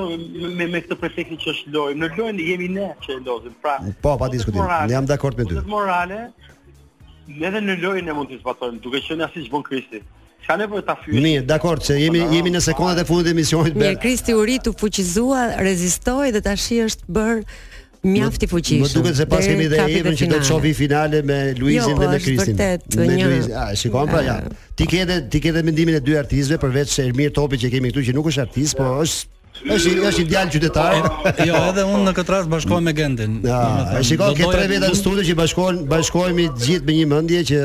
[SPEAKER 15] me me këtë prefektin që është lojë. Në lojë jemi ne që e lozim. Pra,
[SPEAKER 7] Po, pa diskutim.
[SPEAKER 15] morale.
[SPEAKER 7] Ne jam dakord me ty.
[SPEAKER 15] Kundët morale, edhe në lojë ne mund të zbatojmë, duke qenë asnjë që bën Kristi. Çka nevojë ta fyë?
[SPEAKER 7] Mirë, dakord se jemi jemi në sekondat e fundit të emisionit.
[SPEAKER 13] Mirë,
[SPEAKER 7] Bert.
[SPEAKER 13] Kristi u rit, u fuqizua, rezistoi dhe tashi është bër mjaft i fuqishëm.
[SPEAKER 7] Më duket se pas
[SPEAKER 13] Deri
[SPEAKER 7] kemi dhe
[SPEAKER 13] kapi
[SPEAKER 7] Evën që do të
[SPEAKER 13] finale.
[SPEAKER 7] shohim finale me Luizin
[SPEAKER 13] Jo, po,
[SPEAKER 7] dhe me
[SPEAKER 13] është
[SPEAKER 7] Kristin.
[SPEAKER 13] vërtet
[SPEAKER 7] me
[SPEAKER 13] një-
[SPEAKER 7] Luizin. Ah, shikon pra ja. Ti ke edhe ti ke edhe mendimin e dy artistëve përveç se Ermir Topi që kemi këtu që nuk është artist, por është Është është i djalë qytetar.
[SPEAKER 6] Jo, edhe unë në këtë rast bashkohem me Gentin.
[SPEAKER 7] Ja, e shikoj ke tre veta në studio që bashkohen bashkohemi të gjithë me një mendje që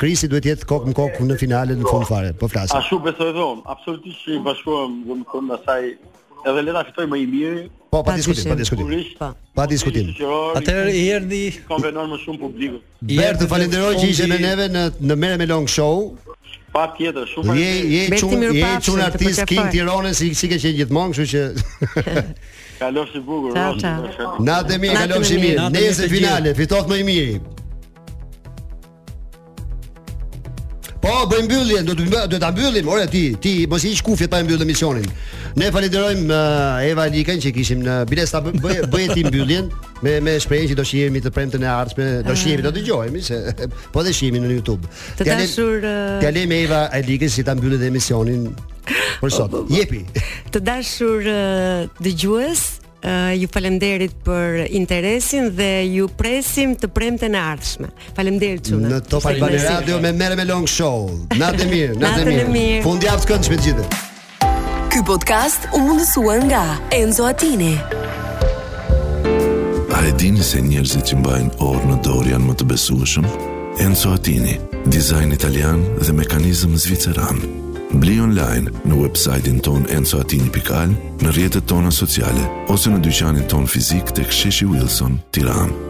[SPEAKER 7] Krisi duhet të jetë kokë në kokë në finalen në fund fare. Po
[SPEAKER 13] Ah,
[SPEAKER 7] flasim.
[SPEAKER 15] Ashtu besoj dhe unë, absolutisht që i bashkohem, dhe më thëmë asaj, edhe le ta fitoj më i mirë.
[SPEAKER 7] Po, pa diskutim, pa diskutim.
[SPEAKER 15] Sigurisht,
[SPEAKER 7] Pa diskutim.
[SPEAKER 15] qërori,
[SPEAKER 6] Atëherë i erdhi
[SPEAKER 15] konvenon më shumë publikut.
[SPEAKER 7] Bert, të falenderoj që ishe
[SPEAKER 6] né?
[SPEAKER 7] me neve në në merre me Long Show.
[SPEAKER 15] Patjetër, shumë
[SPEAKER 7] Je je
[SPEAKER 15] faleminderit.
[SPEAKER 7] çun je çun artist king Tiranës si si ke qenë gjithmonë, kështu që
[SPEAKER 15] Kalofshi bukur.
[SPEAKER 7] Ciao,
[SPEAKER 15] Rosi,
[SPEAKER 7] ciao.
[SPEAKER 15] është-
[SPEAKER 7] Natë e mirë, kalofshi mirë. Nesër finale, fitoft më i miri. Po, bëj mbylljen, do të mbë- do ta mbyllim. Ore ti, ti mos i hiq kufjet pa e mbyllë emisionin. Ne falenderojmë eh, Eva Likën që kishim në Biles ta bë- bëje bëje ti mbylljen me me shprehjen që do shihemi të premten e ardhshme, do shihemi, do dëgjohemi se po dhe shihemi në YouTube.
[SPEAKER 13] Të
[SPEAKER 7] T'ja lem-
[SPEAKER 13] dashur, eh,
[SPEAKER 7] t'ja lejmë Eva Likën si ta mbyllë dhe emisionin për sot. Jepi.
[SPEAKER 13] Të dashur ë, dëgjues, ë, ju falemderit për interesin dhe ju presim të premte në ardhshme. Falemderit Çuna.
[SPEAKER 7] Në Top Albani Radio me Merre me Long Show. Natë e mirë, natë e
[SPEAKER 13] Natën e
[SPEAKER 7] mirë.
[SPEAKER 13] mirë.
[SPEAKER 7] Fundjavë të këndshme të gjithë.
[SPEAKER 1] Ky podcast u mundësua nga Enzo Attini.
[SPEAKER 2] A e dini se njerëzit që mbajnë orë në dorë janë më të besueshëm? Enzo Attini, dizajn italian dhe mekanizëm zviceran. Bli online në website-in ton enzoatini.al, në rjetët tona sociale, ose në dyqanin ton fizik të ksheshi Wilson, tiranë.